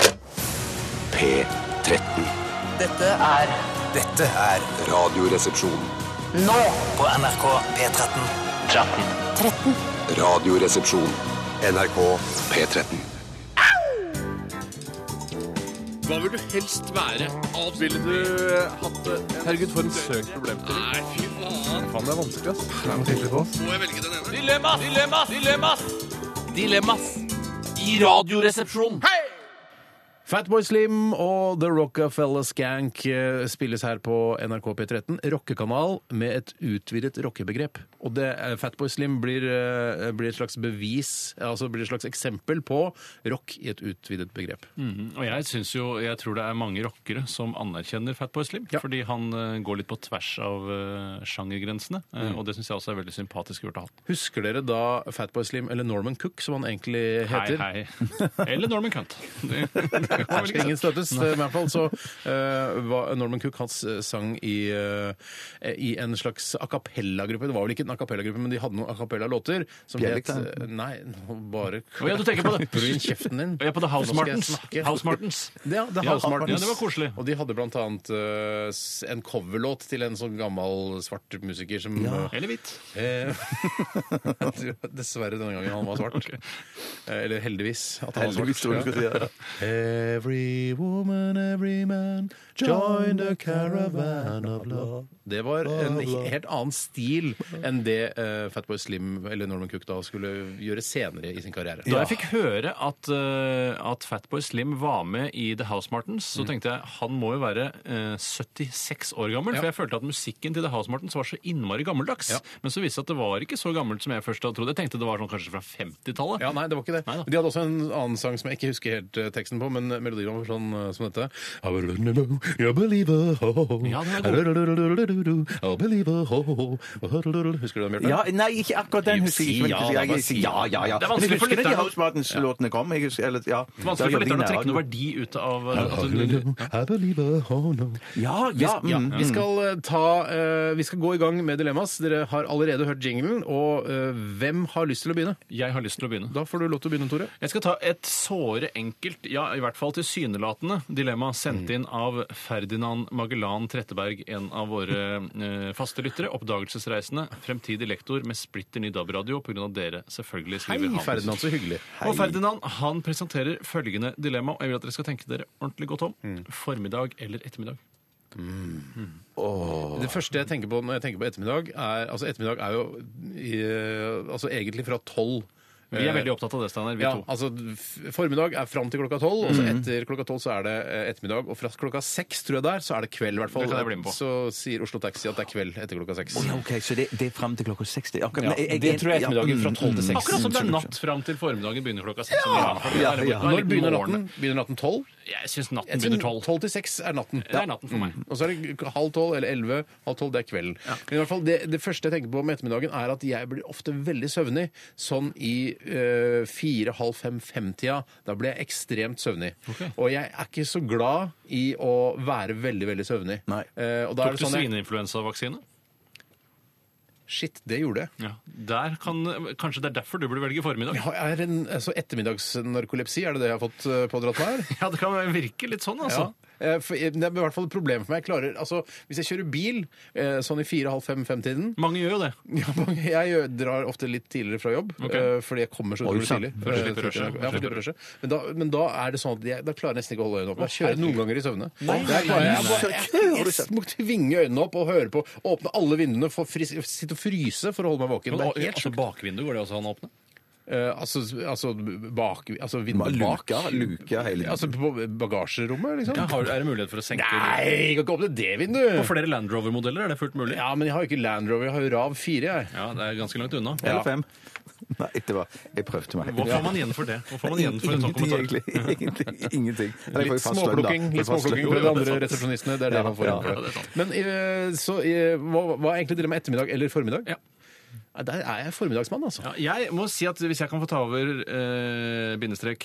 P13.
Dette er
Dette er Radioresepsjon.
nå på NRK P13. 13.
Radioresepsjon. NRK P13.
Hva vil du helst være? Ville du hatt det? Herregud, for en søk problem til. Nei, fy faen. Faen, det er vanskelig, ass. Må jeg velge den ene?
Dilemmas! Dilemmas! Dilemmas! Dilemmas i Radioresepsjonen.
Fatboy Slim og The Rockefeller Skank eh, spilles her på NRK P13, rockekanal med et utvidet rockebegrep. Og det, eh, Fatboy Slim blir, eh, blir et slags bevis, altså blir et slags eksempel på rock i et utvidet begrep.
Og jeg synes jo, jeg tror det er mange rockere som anerkjenner Fatboy Slim,
Ja.
fordi han eh, går litt på tvers av eh, sjangergrensene, eh,
Mm.
og det syns jeg også er veldig sympatisk gjort av han.
Husker dere da Fatboy Slim, eller Norman Cook som han egentlig heter?
Hei, hei. Eller Norman Cunt. Det- det kan
Her
vel
skal
ikke
ingen
se.
støttes. Men i hvert fall så eh, var Norman Cook hans eh, sang i, eh, i en slags a cappella-gruppe. Det var vel ikke en a cappella-gruppe, men de hadde noen a cappella-låter som het
Bjelke?
eh, Nei, nå bare
Å, ja, du tenker på det.
Klapper du inn kjeften din?
Og jeg er på The
Nå
House
skal jeg
Martins.
snakke.
House Martins.
Ja, The
Ja,
House Martins.
ja, det var koselig.
Og de hadde blant annet eh, s- en coverlåt til en sånn gammel svart musiker som
Eller hvitt.
eh, Dessverre denne gangen han var svart. Eh, Eller heldigvis. At han
Heldigvis, tror
var
jeg du
svart.
skal si det.
Every woman, every man, join the caravan of love. Det var en helt annen stil enn det eh, Fatboy Slim eller Norman Cook da skulle gjøre senere i sin karriere.
Da jeg fikk høre at, eh, at Fatboy Slim var med i The House Martins, så tenkte jeg han må jo være eh, 76 år gammel. For jeg følte at musikken til The House Martins var så innmari gammeldags.
Ja.
Men så viste det seg at det var ikke så gammelt som jeg først hadde trodd. Jeg tenkte det var sånn kanskje fra 50-tallet.
Ja, nei, det var ikke det.
Nei da.
De hadde også en annen sang som jeg ikke husker helt eh, teksten på, men melodien var sånn eh, som dette. I will run alone, you're a believer, ho, ho, ho.
Ja, den er god.
Rurururururu, I'll believe, ho, ho, ho. Rururururu. Husker du den, Bjarte?
Ja, nei, ikke akkurat den husker jeg ikke. men
Si ja, da, bare si
jeg- jeg- ja, ja, ja.
Det er vanskelig for
Men jeg husker
lytterne.
da de House Martins-låtene kom. Jeg husker, eller, ja.
Det er Vanskelig for
Da jobbet
lytteren å
jeg
trekke
i
noe
nærradio.
verdi ut av eh,
I
altså,
will alone, I believe, ho, no.
Ja, ja.
Ja,
Mm.
vi skal, eh, ta, eh, vi skal gå i gang med Dilemmas. Dere har allerede hørt jinglen. Og eh, hvem har lyst til å begynne?
Jeg har lyst til å begynne.
Da får du lov til å begynne, Tore.
Jeg skal ta et såre enkelt, ja, i hvert fall tilsynelatende, dilemma
Mm.
sendt inn av Ferdinand Magellan Tretteberg, en av våre eh, faste lyttere, oppdagelsesreisende, fremtidig lektor med splitter ny DAB-radio pga. dere, selvfølgelig,
Hei,
skriver han.
Ferdinand, så hyggelig.
Og Ferdinand han presenterer følgende dilemma, og jeg vil at dere skal tenke dere ordentlig godt om.
Mm.
Formiddag eller ettermiddag?
Det første jeg tenker på når jeg tenker på ettermiddag, er Altså, ettermiddag er jo i, eh, altså, egentlig fra tolv.
Vi er veldig opptatt av det, Steinar, vi
Eh, Ja,
to. Mhm.
altså f- Formiddag er fram til klokka tolv, og så etter klokka tolv så er det eh, ettermiddag. Og fra klokka seks, tror jeg det er, så er det kveld, i hvert fall.
Det kan jeg bli med på.
Så sier Oslo Taxi at det er kveld etter klokka seks.
Ja, ok, Så det, det er fram til klokka 60? Akkurat,
Ja,
men jeg- jeg-
det tror jeg er ettermiddagen fra
mm,
12 til
mm.
6.
Akkurat som det er natt fram til formiddagen begynner klokka seks. om
ja,
morgenen.
ja.
Det er
Når
litt
begynner
morgen.
natten? Begynner natten tolv?
Jeg syns natten
Jeg
begynner
tror
tolv.
Tolv til seks er natten. Mm.
Det er natten for meg.
Og så er det k- halv tolv eller elleve. Halv tolv, det er kvelden. Men i hvert fall, det, det første jeg tenker på om ettermiddagen, er at jeg blir ofte veldig søvnig. Sånn i eh, fire, halv fem, fem-tida. Da blir jeg ekstremt søvnig. Og jeg er ikke så glad i å være veldig, veldig søvnig.
Nei.
Eh, og da er
Tok
det
du
sånn jeg,
svineinfluensavaksine?
Shit, det gjorde jeg.
Ja. Der kan, kanskje det er derfor du burde velge formiddag?
Jeg har- jeg er en, altså ettermiddagsnarkolepsi, er det det jeg har fått eh, pådratt meg her?
Ja, det kan virke litt sånn,
Ja.
altså.
Eh, For, eh, det er i hvert fall et problem for meg. Jeg klarer, altså, hvis jeg kjører bil eh, sånn i fire-halv fem-fem-tiden
Mange gjør jo det.
ja, mange- jeg gjør- drar ofte litt tidligere fra jobb,
Ok.
eh, fordi jeg kommer så
Oi,
utrolig
sant.
tidlig.
For å slippe
Eh,
rushet.
Ja, for å slippe rushet. Men, da, men da er det sånn at jeg da klarer jeg nesten ikke å holde øynene oppe. Jeg kjører noen ganger i søvne. Der klarer jeg, jeg, bare- jeg, jeg, må tvinge øynene opp og høre på. Åpne alle vinduene, få fris, sitte og fryse for å holde meg våken. Det er helt
altså,
sjukt.
bakvinduet går det også an å åpne?
Eh, altså, altså bak Altså vinduet bak.
Luka, luka hele tiden.
Altså på bagasjerommet, liksom.
Ja, har, er det mulighet for å senke
Nei, jeg kan ikke åpne det
På
vinduet!
flere Land Rover-modeller er det fullt mulig.
Ja, men jeg har jo ikke Land Rover, jeg har jo Rav 4, jeg.
Ja, det er ganske langt unna.
Eller fem. Nei, det var Jeg prøvde meg.
Hva får man igjen for det? Hva får man igjen for en sånn
Ingenting,
kommentar?
egentlig. Ingenting. Ingenting. Eller jeg får jo
Litt
fast lønn, da.
småplukking litt
Jeg får fast
småplukking
lønn.
fra de
det er
andre
sant.
resepsjonistene. Det er det
Ja,
man får inn
ja,
for
det er
det.
sant.
Men eh, så eh, hva, hva er egentlig dilemma ettermiddag eller formiddag?
Ja.
Nei, Der er jeg formiddagsmann, altså.
Ja, jeg må si at hvis jeg kan få ta over eh, bindestrek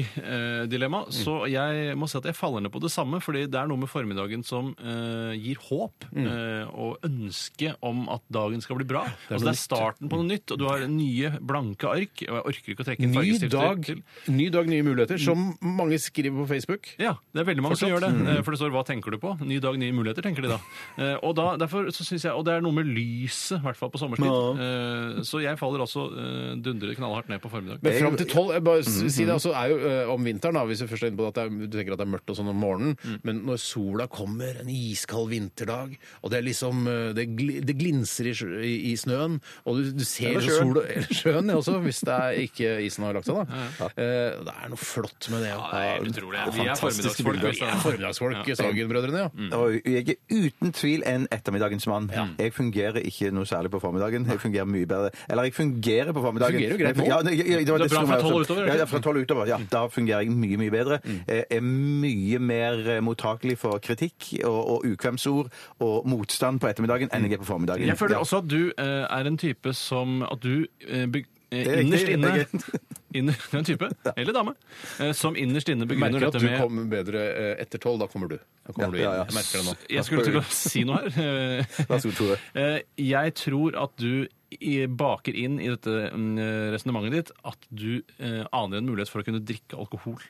dag-dilemma, så jeg må si at jeg faller ned på det samme, fordi det er noe med formiddagen som eh, gir håp eh, og ønske om at dagen skal bli bra. Det er, altså, det er starten på noe nytt, og du har nye blanke ark. Og jeg orker ikke å trekke en
Ny
fargestifter
dag,
til. Mm.
ny dag, nye muligheter, som mange skriver på Facebook.
Ja, det er veldig mange som gjør det. eh, For det står 'Hva tenker du på?' Ny dag, nye muligheter, tenker de da. Eh, Og, da, derfor så synes jeg, og det er noe med lyset, i hvert fall på sommerstid. Eh, Så jeg faller også eh, dundrer knallhardt ned på formiddag.
Men fram til tolv jeg bare s- si det, altså, er jo eh, om vinteren, da, hvis du først er inne på at det er, du tenker at det er mørkt og sånn om morgenen, men når sola kommer, en iskald vinterdag, og det er liksom eh, det, gli, det glinser i, sjø- i, i snøen, og du, du ser
Eller
jo
sjøen.
sola Eller sjøen, ja, også, hvis det er ikke isen har lagt seg, da. Eh, det er noe flott med det. Ja,
utrolig. Vi er
fantastiske
formiddagsfolk. altså.
Vi
bilder. Mm.
vi
er formiddagsfolk, Sagen-brødrene,
er-
ja.
Og jeg er uten tvil en ettermiddagens mann. Jeg fungerer ikke noe særlig på formiddagen. Jeg fungerer mye bedre. Eller jeg fungerer på formiddagen.
Du fungerer jo greit nå.
Ja, det, ja, det, var
Det er bra
som
fra
jeg også-
12 utover, ikke? Mm.
Ja, ja, fra 12 utover. Ja, da fungerer jeg mye, mye bedre. Jeg er mye mer eh, mottakelig for kritikk og, og ukvemsord og motstand på ettermiddagen enn jeg er på formiddagen.
Jeg føler
Ja.
også at du eh, er en type som At du eh, byg- eh,
Det er
innerst
riktig,
inne
jeg er-
inner, Du er en type, eller dame, eh, som innerst inne
Jeg
begrunner
merker at
dette
du
med
kommer bedre eh, etter tolv. Da kommer du. Da kommer du inn.
ja, ja.
Jeg merker det nå.
Jeg skulle til å si noe her.
Vær så god, Tore.
Eh, Jeg tror at du i- baker inn i dette mm, resonnementet ditt at du eh, aner en mulighet for å kunne drikke alkohol.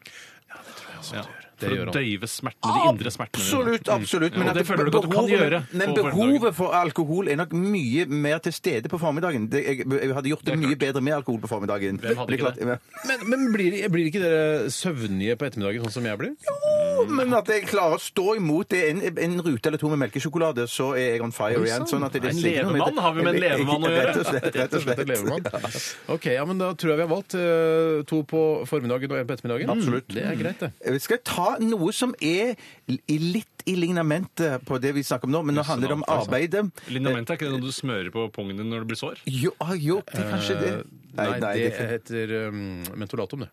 Ja,
Det
For
gjør
å
han.
døyve smertene, de indre smertene. dine.
Absolutt, absolutt.
Ja, og det føler du ikke at du kan
behovet-
gjøre
Men
på formiddagen.
behovet for alkohol er nok mye mer til stede på formiddagen. Det, jeg, jeg hadde gjort det, mye bedre med alkohol på formiddagen.
Hvem hadde
Men
ikke
klart- men-
Men, men blir, blir ikke dere søvnige på ettermiddagen, sånn som jeg blir?
Mm. Men at jeg klarer å stå imot det er en, en rute eller to med melkesjokolade, så er jeg on fire igjen. Sånn at det
En
sier noe om
levemann
dette.
har vi med en levemann å gjøre.
Rett og slett. Rett og slett.
et levemann. Ok, ja, men Da tror jeg vi har valgt eh, to på formiddagen og én på ettermiddagen. Absolutt. Det er greit, det.
Skal jeg ta noe som er i litt i lignamentet på det vi snakker om nå, men nå handler det om
altså.
arbeidet.
Linamentet er ikke det noe du smører på pungen din når det blir sår?
Jo, ah, jo det er kanskje det.
Eh, Nei, det, heter um, mentolatum, det.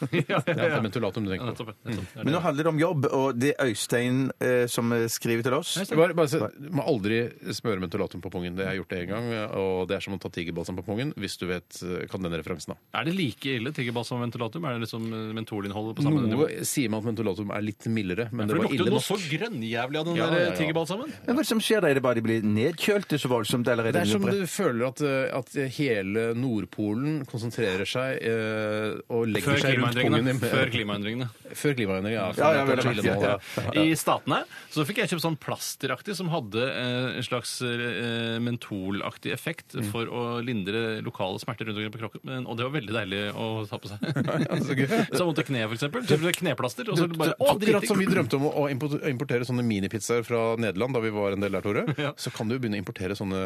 ja,
Ja, det er mentolatum du tenker på.
Nettopp, nettopp. Det
Men
er det.
nå handler det om jobb, og det er Øystein eh, som skriver til oss.
Bare, bare, se- du må aldri smøre mentolatum på pungen. Det har jeg gjort det en gang, og det er som å ta tigerbalsam på pungen, hvis du vet, eh, kan den referansen. da.
Er det like ille tiggerbass som ventilatum? Er det liksom eh, mentolinnholdet på samme nivå?
Noe sier man at mentolatum er litt mildere, men det
For det
var
lukter
ille
jo noe
nok.
så grønnjævlig av den
Ja,
der
ja, ja.
tigerbalsamen.
Men hva er det som skjer da? Er det bare de blir nedkjølte så voldsomt? Eller er
Det
det,
er som du føler at, eh, at hele Nordpolen konsentrerer seg eh, og legger
Før
seg rundt pungen.
klimaendringene.
i-
Før klimaendringene.
Før klimaendringene, ja.
Ja, ja,
det er
vel,
kanskje ille nå,
ja, ja.
da.
I Statene så fikk jeg kjøpt sånn plasteraktig som hadde eh, en slags eh, mentolaktig effekt for å lindre lokale smerter rundt omkring på kroppen. Men, og det var veldig deilig å ta på seg.
så gøy.
så vondt i kneet, for eksempel. Så ble det kneplaster, og så bare Å,
Akkurat som vi
dritdigg!
drømte om å å import- importere sånne minipizzaer fra Nederland da vi var en del der, Tore, så kan du jo begynne å importere sånne,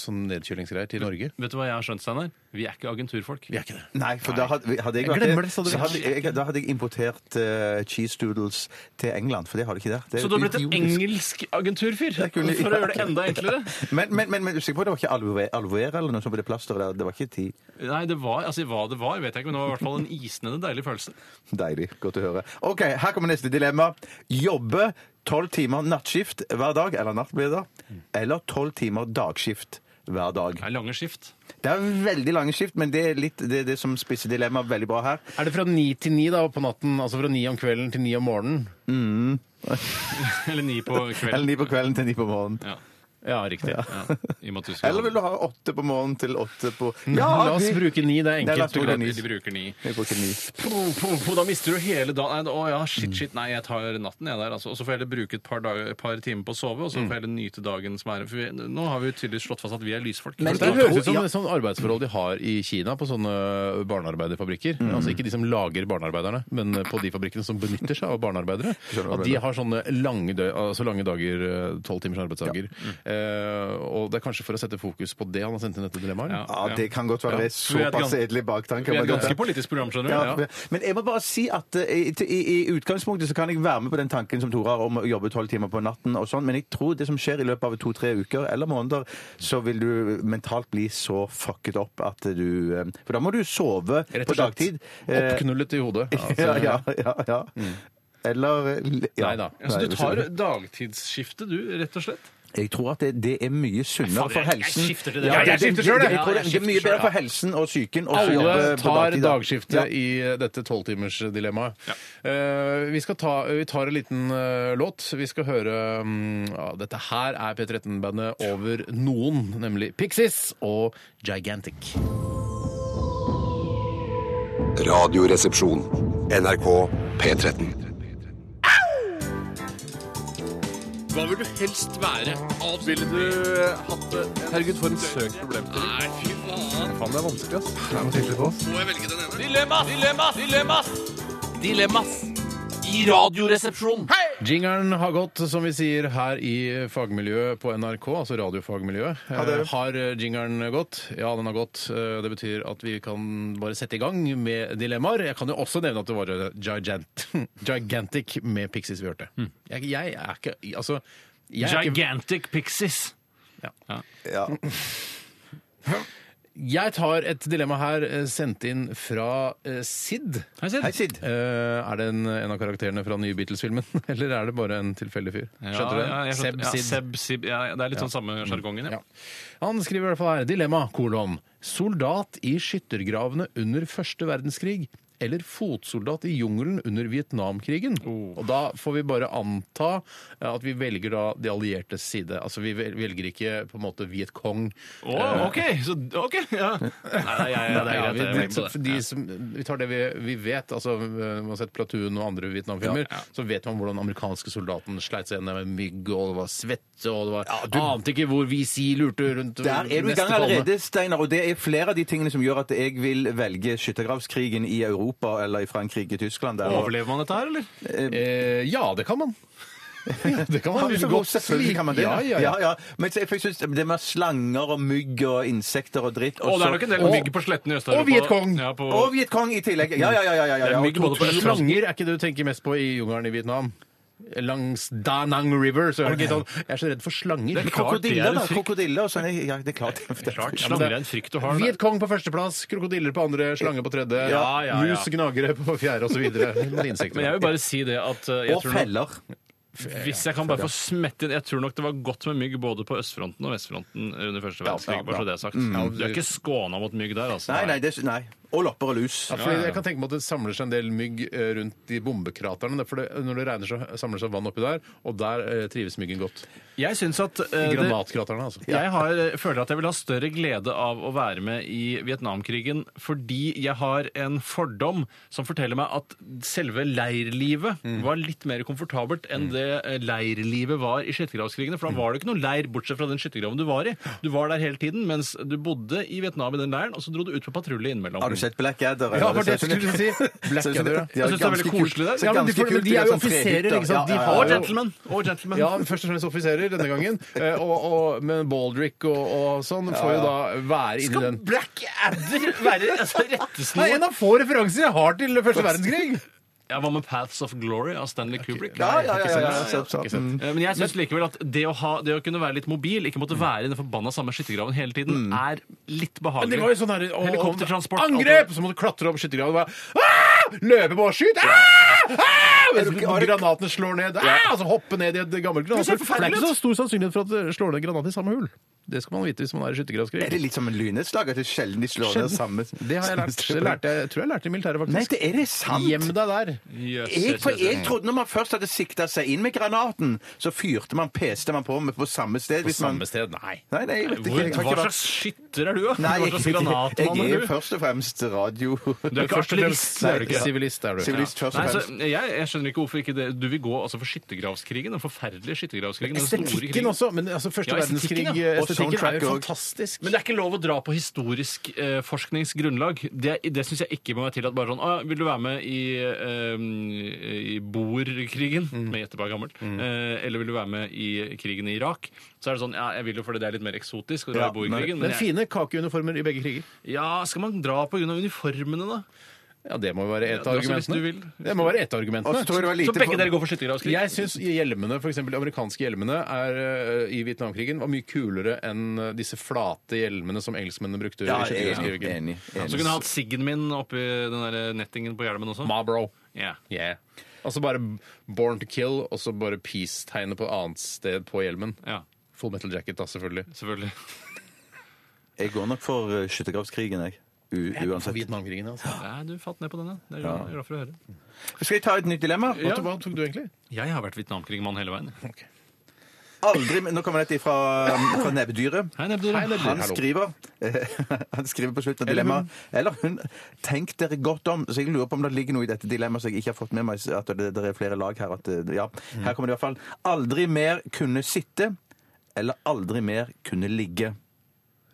sånne nedkjølingsgreier til Norge.
Vet du hva jeg har skjønt, Steinar? Vi er ikke agenturfolk.
Vi er ikke det.
Nei, for da hadde, hadde jeg,
Jeg
vært
glemmer
det,
det, sa du.
så hadde, jeg, da hadde jeg importert eh, cheese doodles til England, for det har de ikke der. Det er
Så du har blitt en
idiotisk.
engelsk agenturfyr?
Jeg
For å
kunne-
gjøre det enda enklere?
Men, men, men, men du er sikker på at det var ikke alvoer, alvoer eller noe sånt på det plasteret der? Det var ikke ti.
Nei, det var, altså hva det var, vet jeg ikke, men det var i hvert fall en isnende deilig følelse.
Deilig. Godt å høre. OK, her kommer neste dilemma. Jobbe tolv timer nattskift hver dag, eller natt blir det da, eller tolv timer dagskift hver dag.
Det er lange skift.
Det er veldig lange skift, men det er litt det, er det som spisser dilemmaet veldig bra her.
Er det fra ni til ni da, på natten? Altså fra ni om kvelden til ni om morgenen?
Eller ni på kvelden.
Eller ni på kvelden til ni på morgenen.
Ja.
Ja, riktig.
Ja. I og med at du skal-
Eller vil du ha åtte på morgenen til åtte på
La oss
vi-
bruke ni, det er
Nei, la oss
enkelt.
bruke
og
ni.
greit.
De bruker ni.
Vi bruker ni.
Po, po, po, Da mister du hele dagen. Nei, Å ja, shit, shit. Nei, jeg tar natten, jeg der. Altså. Og så får jeg heller bruke et par, dager, et par timer på å sove, og
Mm.
så får jeg heller nyte dagen som er For vi, nå har vi jo tydeligvis slått fast at vi er lysfolk.
Men-
Det høres ut som
Ja.
et sånn arbeidsforhold de har i Kina på sånne øh, barnearbeiderfabrikker.
Mm.
Altså ikke de som lager barnearbeiderne, men på de fabrikkene som benytter seg av barnearbeidere. At de har sånne lange, dø altså lange dager, tolv timers arbeidsdager.
Mm.
Eh, og det er kanskje for å sette fokus på det han har sendt inn dette dilemmaet? eller?
Ja, det kan godt være
Ja.
det er
Vi er et
såpass
gans-
edelig baktanke.
Vi
men
er et
dette-
ganske politisk program, skjønner du.
Ja,
Ja.
men jeg må bare si at eh, i, i, i utgangspunktet så kan jeg være med på den tanken som Tore har om å jobbe tolv timer på natten og sånn, men jeg tror det som skjer i løpet av to-tre uker eller måneder, så vil du mentalt bli så fucket opp at du eh, For da må du sove
Rett og
på
slett
dagtid. Eh,
Oppknullet i hodet.
ja,
Altså,
ja, ja, ja.
mm.
Eller eh, ja.
Nei da.
Ja, så Altså, du
hvis
tar dagtidsskifte, du, rett og slett?
Jeg tror at det, det er mye sunnere
Faen,
for
jeg- jeg
helsen.
skifter til det.
Ja,
Ja, jeg
det- det-
skifter selv, jeg.
jeg tror
Ja, jeg
det- Det er mye
skifter
bedre
selv,
for helsen og psyken å
Alle
jobbe på
tar
dagtid, da.
dagskifte
Ja.
i dette tolvtimersdilemmaet. Uh, vi, skal ta- vi tar en liten eh, låt. Vi skal høre mm, ja, Dette her er P13-bandet over noen, nemlig Pixies og Gigantic.
Radioresepsjon. NRK P13.
Hva vil du helst være? Ville du eh, hatt det? Herregud, for en søk problemstilling. Nei, fy faen. Faen, det er vanskelig, ass. Det er noe tydelig på oss. Må jeg velge den ene? Dilemmas! Dilemmas! Dilemmas! Dilemmas i Radioresepsjonen. Hei!
Jingeren har gått, som vi sier her i fagmiljøet på NRK, altså radiofagmiljøet. Eh, Har eh, jingeren gått? Ja, den har gått. Eh, Det betyr at vi kan bare sette i gang med dilemmaer. Jeg kan jo også nevne at det var eh, gigant, Gigantic med Pixies vi hørte.
Hmm.
Jeg, jeg er ikke Altså jeg er ikke,
Gigantic Pixies.
jeg tar et dilemma her eh, sendt inn fra eh, Sid.
Hei, Sid.
Hei, Sid.
Eh, er det en, en av karakterene fra den nye Beatles-filmen, eller er det bare en tilfeldig fyr? Skjønte du det?
Ja, ja, jeg
Seb
skjønte- ja,
Sid.
Seb Sid. Ja, det er litt sånn samme sjargongen, ja.
Ja. Han skriver i hvert fall her Dilemma, kolon. Soldat i skyttergravene under første verdenskrig eller fotsoldat i jungelen under Vietnamkrigen. Og da får vi bare anta eh, at vi velger da de alliertes side. Altså vi vel- velger ikke på en måte Viet Cong. eh,
Å, OK! Så, ok, ja. Nei, nei, ja, ja, det er
Ja,
greit.
vi,
jeg er med på
for
det.
de som, vi tar det vi, vi vet. altså eh, Man har sett Platoon og andre Vietnamfilmer. Så vet man hvordan den amerikanske soldaten sleit seg gjennom en mygg, og det var svette, og det var Ante ikke hvor VC lurte rundt
Der er du i
neste
gang
kolonne.
allerede, Steinar, og det er flere av de tingene som gjør at jeg vil velge skyttergravskrigen i Europa eller i Frankrike, Tyskland. Der.
Overlever man dette her, eller?
Eh, ja, det kan man. Ja, det kan man.
Ja, så
Godt
selvfølgelig kan man det.
Ja, ja, ja.
Ja, ja. Men så- for jeg synes det med slanger og mygg og insekter og dritt
Å, det
så-
er nok en del
og-
mygg på sletten i Øst-Europa.
og Vietcong.
Ja, på-
Og Vietcong i tillegg. Ja, ja, ja. ja, ja, ja.
Det er mygg
Og
både på
to-
Slanger er ikke det du tenker mest på i jungelen i Vietnam. Langs Da Nang River. Så er det ikke sånn, jeg er så redd for slanger.
Det er klart det er
Krokodiller,
en
da.
frykt.
Krokodiller og sånn. Ja, det er klart. Det er
Klart,
klart.
slanger er en frykt du har.
Viet Cong på førsteplass, krokodiller på andre, slanger på tredje,
Ja, ja, ja.
mus, gnagere på fjerde osv.
Men jeg vil bare si det at eh, jeg
Og
tror nok-
feller.
Hvis jeg kan bare få smette inn Jeg tror nok det var godt med mygg både på østfronten og vestfronten under første verdenskrig. bare så det er sagt. Du er ikke skåna mot mygg der, altså.
Mm. Nei, nei, det, nei. Og lopper og lus.
Ja, fordi jeg kan tenke meg at Det samler seg en del mygg eh, rundt de bombekraterne. det er For det, når det regner, så samler det seg vann oppi der, og der eh, trives myggen godt.
Jeg syns at eh, det-
Granatkraterne, altså.
Jeg har, eh, føler at jeg vil ha større glede av å være med i Vietnamkrigen fordi jeg har en fordom som forteller meg at selve leirlivet
Mm.
var litt mer komfortabelt enn det eh, leirlivet var i skyttergravskrigene.
Mm.
For da var det ikke noe leir bortsett fra den skyttergraven du var i. Du var der hele tiden mens du bodde i Vietnam i den leiren, og så dro du ut på patrulje innimellom.
Har du sett Black Adder?
Ja, for det skulle du si. Black Adder, ja.
Jeg synes det er veldig koselig der.
Ja, men de- for- men de er jo
sånn
offiserer, ikke sant? De har
Og
jo-
gentlemen! Og gentlemen.
Ja, først og fremst offiserer denne gangen. eh, Og, og, men Baldrick og, og sånn får jo da være inni den.
Black Adder være altså,
Det er en
rettesnoren?
av få referanser jeg har til første verdenskrig!
Ja, hva med Paths of Glory av Stanley Kubrick?
Ja, ja, ja. ja, ja.
Ikke sant?
Eh, Men jeg syns likevel at det å, ha, det å kunne være litt mobil, ikke
Mm.
måtte være i den forbanna samme skyttergraven hele tiden, er litt
Men
behagelig.
det var jo sånn her, å,
Helikoptertransport.
Angrep! Så må du klatre opp skyttergraven og bare «Ah! Løpe på og skyte! Ah! Ah! Granatene slår ned. Ah! Altså hoppe ned i et gammelt granathull. For Det er ikke så stor sannsynlighet for at det slår ned granater i samme hull. Det skal man vite hvis man er i
Er
skyttergravskrig.
det litt som en lynnedslag? At det er sjelden de slår ned samme
Det har jeg lært. Det lærte jeg, jeg tror jeg lærte det i militæret,
Nei,
faktisk.
det er det sant!
Gjem deg der.
Jeg, for jeg trodde når man først hadde sikta seg inn med granaten, så fyrte man, peste man på med på samme sted. Hvis man...
Samme sted. Nei.
Nei, nei, jeg vet ikke.
Hvor,
Jeg har
hva
ikke vært-
slags skytter er du, da?
Nei,
Hva slags granatmann
jeg
er
er
du?
først og fremst radio...
Du er ikke artillerist.
Nei,
er du ikke.
Sivilist er du.
Sivilist først og
Nei, så,
fremst.
jeg, jeg skjønner ikke hvorfor ikke det, du vil gå altså, for skyttergravskrigen. Den forferdelige skyttergravskrigen. den store krigen.
Estetikken også. Men altså, første
Ja, estetikken,
verdenskrig
ja. Og
Estetikken er
soundtrack
jo
og-
fantastisk.
Men det er ikke lov å dra på historisk eh, forskningsgrunnlag. Det, det syns jeg ikke må være tillatt. Bare sånn ah, 'Vil du være med i, eh, i boerkrigen?' med Jetteberg gammel. Eh, eller 'Vil du være med i krigen i Irak?' Så er det sånn 'Ja, jeg vil jo fordi det er litt mer eksotisk å
Ja,
dra i boerkrigen',
Men
men jeg,
fine kakeuniformer i begge kriger.
ja, skal man dra på grunn av uniformene, da?
Ja, det må jo være et
Ja,
av
det er også hvis
argumentene.
du vil.
Det må være et av
Og så tror jeg
argumentene.
det var lite
Så begge
for-
dere går for skyttergravskrig?
Jeg syns hjelmene, f.eks. de amerikanske hjelmene er, eh, i Vietnamkrigen var mye kulere enn eh, disse flate hjelmene som engelskmennene brukte.
Ja,
i
jeg er enig.
skyttergravskrigen.
enig, enig.
Så kunne jeg hatt siggen min oppi den der nettingen på hjelmen også.
Ma, bro.
Ja.
Yeah. Altså bare Born to kill, og så bare peace-tegnet på et annet sted på hjelmen.
ja,
Full metal jacket, da, selvfølgelig.
selvfølgelig.
Jeg går nok for eh, skyttergravskrigen, jeg. U uansett.
Vietnamkrigen, altså.
Nei, du falt ned på den, ja. Det er jeg glad for å høre.
Skal jeg ta et nytt dilemma?
Hva, hva tok du egentlig?
Jeg har vært Vietnamkrig-mann hele veien.
Aldri, men nå kommer dette fra, fra nebbdyret.
Hei, Nebdyr.
Han skriver, han skriver på slutten av dilemmaet Eller hun Tenk dere godt om. Så jeg lurer på om det ligger noe i dette dilemmaet som jeg ikke har fått med meg. At det, det er flere lag her. At, det- ja. Her kommer det i hvert fall. Aldri mer kunne sitte, eller aldri mer kunne ligge.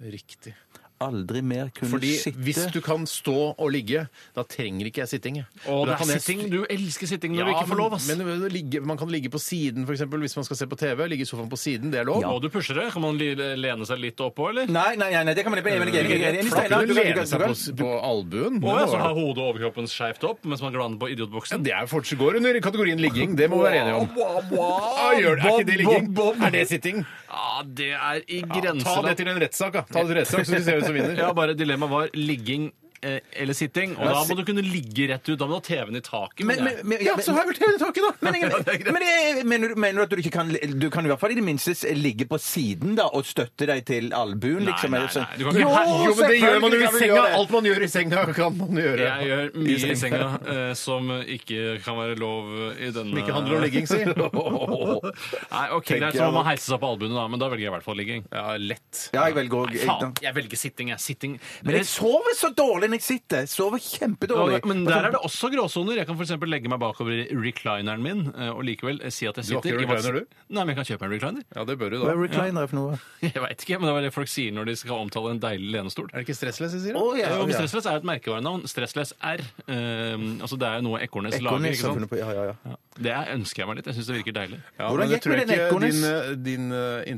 Riktig.
Aldri mer kunne
Fordi
sitte
hvis du kan stå og ligge, da trenger ikke jeg sitting. jeg.
Og
Da
det
kan
er
jeg
sitting.
st-
Du elsker sitting når
Ja,
du ikke får lov, ass.
men, men ligge, man kan ligge på siden for eksempel, hvis man skal se på TV. Ligge i sofaen på siden, det er lov.
Må du pushe det? Kan man li- lene seg litt oppå, eller?
Nei, nei, nei, nei, det kan man ikke. Jeg er enig, jeg er enig, jeg er enig.
Man
Steinar,
kan
du
jo
kan- du
lene
kan-
seg
du
på,
kan-
s- på albuen.
Å,
Det
ja, så
var-
har hodet og overkroppen skeivt opp mens man glaner på
Ja,
idiotboksen?
det er fortsatt går under kategorien ligging, det må vi være enige om. Ja, gjør det. Er ikke det ligging? Er det sitting?
Ja, det er
Ja, ta
i
det
grenseland.
til en rettssak, da. Ta det til rettssak, så vi ser hvem som vinner.
Mm. Ja, bare dilemmaet var ligging eh, eller sitting. Og da må du kunne ligge rett ut. Da må du ha TV-en i taket.
Men,
mener
men, men,
jeg.
Ja, så har jeg vel TV-taket, da!
Men, jeg, men jeg, mener, du- mener du at du ikke kan Du kan i hvert fall i det minste s- ligge på siden da og støtte deg til albuen,
Nei,
liksom?
nei,
eller sånn.
nei, du kan ikke- Jo,
Jo, men det gjør man jo i senga!
selvfølgelig kan du gjøre det.
Alt man gjør i senga, kan man gjøre.
Jeg gjør mye i senga eh, som ikke kan være lov i
Som
denne
ikke handler om ligging, si.
Nei, ok, greit, så
jeg,
man må
da.
heise seg på albuene, da. Men da velger jeg i hvert fall ligging.
Ja, lett.
Ja, jeg velger òg
Nei, faen, jeg velger sitting, jeg. Sitting.
Men jeg sover så dårlig når jeg sitter. Jeg sover kjempedårlig.
men der er det også gråsoner. Jeg kan f.eks. legge meg bakover i reclineren min eh, og likevel eh, si at jeg
Du har
sitter.
ikke
Jeg bare-
recliner, du?
Nei, men jeg kan kjøpe en recliner.
Ja, det bør du,
Hva
da.
er recliner for noe?
Jeg vet ikke, men det er det folk sier når de skal omtale en deilig lenestol.
Er det ikke stressless jeg sier?
Å,
da?
ja,
Jo, men
ja.
Stressless er jo et merkevarenavn. Stressless R. Eh, altså det er jo noe Ekornes lager.
Ekornes
ikke
har funnet
sant?
på Ja, ja, ja.
Ja. Det er- ønsker jeg meg litt. Jeg syns det virker deilig.
Ja,
Hvordan
men det
gikk
tror
det
jeg
med
ikke
den
din,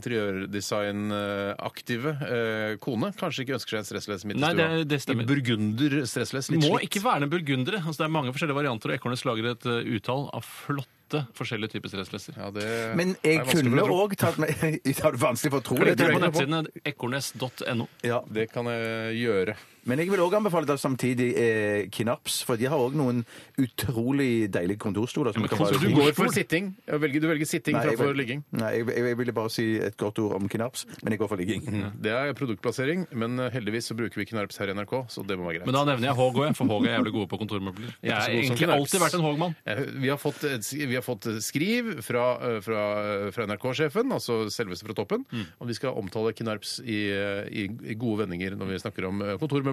din eh, interiørdesign-aktive eh, kone kanskje ikke ønsker seg en stressless midt i
Nei,
stua.
det- det stemmer.
En Burgunder stressless, litt
Må
slitt.
ikke være burgundere. Altså, det er mange forskjellige varianter, og Ekornes lager et eh, utall av flotte forskjellige typer stresslesser.
Ja, det
Men jeg
er vanskelig
kunne
å tro.
òg tatt med Det er vanskelig for å tro
Det er på
det.
nettsidene ekornes.no.
Ja.
Det kan jeg gjøre.
Men jeg vil òg anbefale da samtidig eh, Knaps, for de har òg noen utrolig deilige kontorstoler. som
men
kan
kontor-
være-
Du
Hvor-
går for sitting. Ja, velger- Du velger sitting
Nei, jeg,
framfor
vil-
ligging.
Nei, jeg, jeg, jeg ville bare si et godt ord om Knaps, men jeg går for ligging.
Mm.
Det er produktplassering, men eh, heldigvis så bruker vi Knarps her i NRK, så det må være greit.
Men da nevner jeg Håg òg, for Håg er jævlig gode på kontormøbler. Jeg har
så god som
egentlig
Knarps.
alltid vært en Håg-mann.
Eh, Vi har fått, et- vi har fått skriv fra, eh, fra, fra NRK-sjefen, altså selveste fra toppen,
Mm.
om vi skal omtale Knarps i, eh, i, i gode vendinger når vi snakker om eh, kontormøbler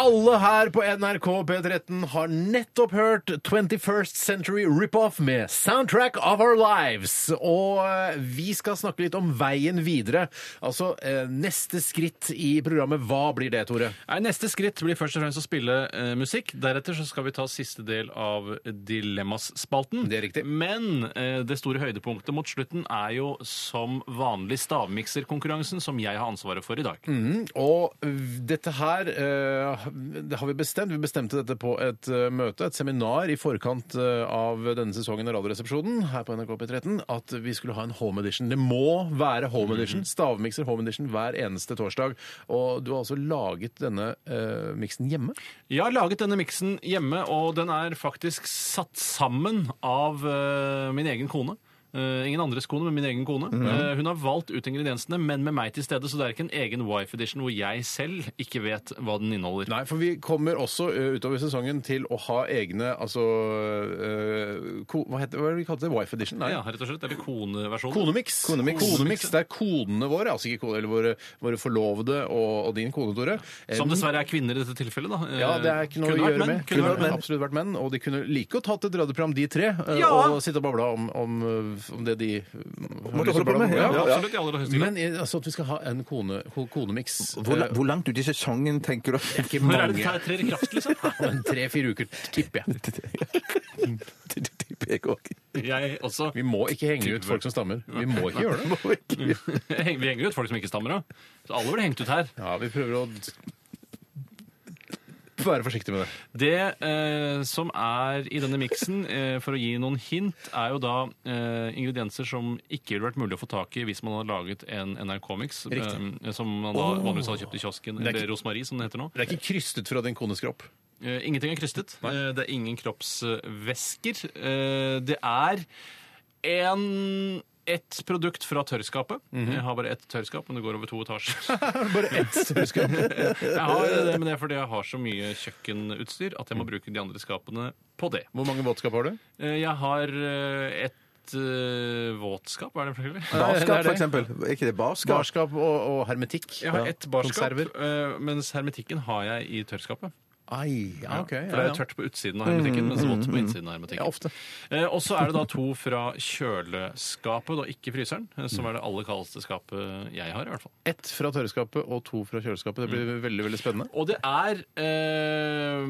Alle her på NRK P13 har nettopp hørt 21st Century Rip-Off med Soundtrack of Our Lives. Og eh, vi skal snakke litt om veien videre. Altså eh, neste skritt i programmet. Hva blir det, Tore?
Nei, Neste skritt blir først og fremst å spille eh, musikk. Deretter så skal vi ta siste del av Dilemmas-spalten.
Det er riktig.
Men eh, det store høydepunktet mot slutten er jo som vanlig stavmikserkonkurransen som jeg har ansvaret for i dag.
Og dette her eh, det har vi bestemt. Vi bestemte dette på et eh, møte, et seminar i forkant eh, av denne sesongen av Radioresepsjonen her på NRK P13, at vi skulle ha en home edition. Det må være home edition. Stavmikser home edition hver eneste torsdag. Og du har altså laget denne eh, miksen hjemme.
Jeg har laget denne miksen hjemme, og den er faktisk satt sammen av eh, min egen kone. Eh, ingen andres kone, men min egen kone.
Mhm.
Eh, hun har valgt ut ingrediensene, men med meg til stede, så det er ikke en egen Wife Edition hvor jeg selv ikke vet hva den inneholder.
Nei, for vi kommer også ø, utover sesongen til å ha egne altså ø, ko, Hva heter hva er det vi kalte det? Wife edition? Nei.
Ja, rett og slett. Eller koneversjonen.
Konemix.
Konemix.
Det er kodene våre, altså ikke kone, eller våre, våre forlovede og, og din kone, Tore. Eh,
Som dessverre er kvinner i dette tilfellet, da.
ja, det er ikke noe å
Kunne vært
gjøre
menn,
med. Kunne vært menn. absolutt vært menn, og de kunne like godt tatt et radioprogram, de tre, eh,
Ja.
og sitte og babla om, om, eh, om det de eh, har lyst til å
holde på
babla om.
med,
Ja,
Ja.
absolutt. I aller høyeste grad.
Men eh, altså, at vi skal ha en kone, ko- konemix
Hvor,
eh,
la- hvor langt ute i sesongen tenker du?
ikke
Når er det
mange.
det trer i kraft,
eh,
liksom?
Tre-fire uker, tipper jeg.
Jeg også.
Vi må ikke henge ut folk som stammer. Vi må ikke gjøre det.
Vi henger ut folk som ikke stammer av. Så alle blir hengt ut her.
Ja, vi prøver å være forsiktige med det.
Det eh, som er i denne miksen, eh, for å gi noen hint, er jo da eh, ingredienser som ikke ville vært mulig å få tak i hvis man hadde laget en NRK-miks,
Riktig.
eh, som man da vanligvis hadde kjøpt i kiosken,
Det er
eller
ikke-
Rosmarie, som det heter nå.
Det er ikke krystet fra din kones kropp.
Eh, ingenting er krystet. Eh, det er ingen kroppsvæsker. Eh, det er en ett produkt fra tørrskapet.
Mhm.
Jeg har bare ett tørrskap, men det går over to etasjer.
Bare ett støvskap.
Jeg har det, men det er fordi jeg har så mye kjøkkenutstyr at jeg
Mm.
må bruke de andre skapene på det.
Hvor mange våtskap har du?
Eh, Jeg har eh, et eh, våtskap, hva er det for eksempel?
det
Barskap,
er
for
det.
eksempel. Er ikke det barskap?
Barskap og, og hermetikk.
Jeg har
Ja.
ett barskap,
Konserver.
eh, mens hermetikken har jeg i tørrskapet.
Ai, ja, ok.
For det
Ja,
er
ja. Mm,
jo tørt på utsiden av hermetikken, mens vått på innsiden av
Ja,
hermetikken.
ofte.
Eh, Og så er det da to fra kjøleskapet, da ikke fryseren, eh,
Mm.
som er det aller kaldeste skapet jeg har, i hvert fall.
Ett fra tørreskapet og to fra kjøleskapet. Det
Mm.
blir veldig veldig spennende.
Og det er eh,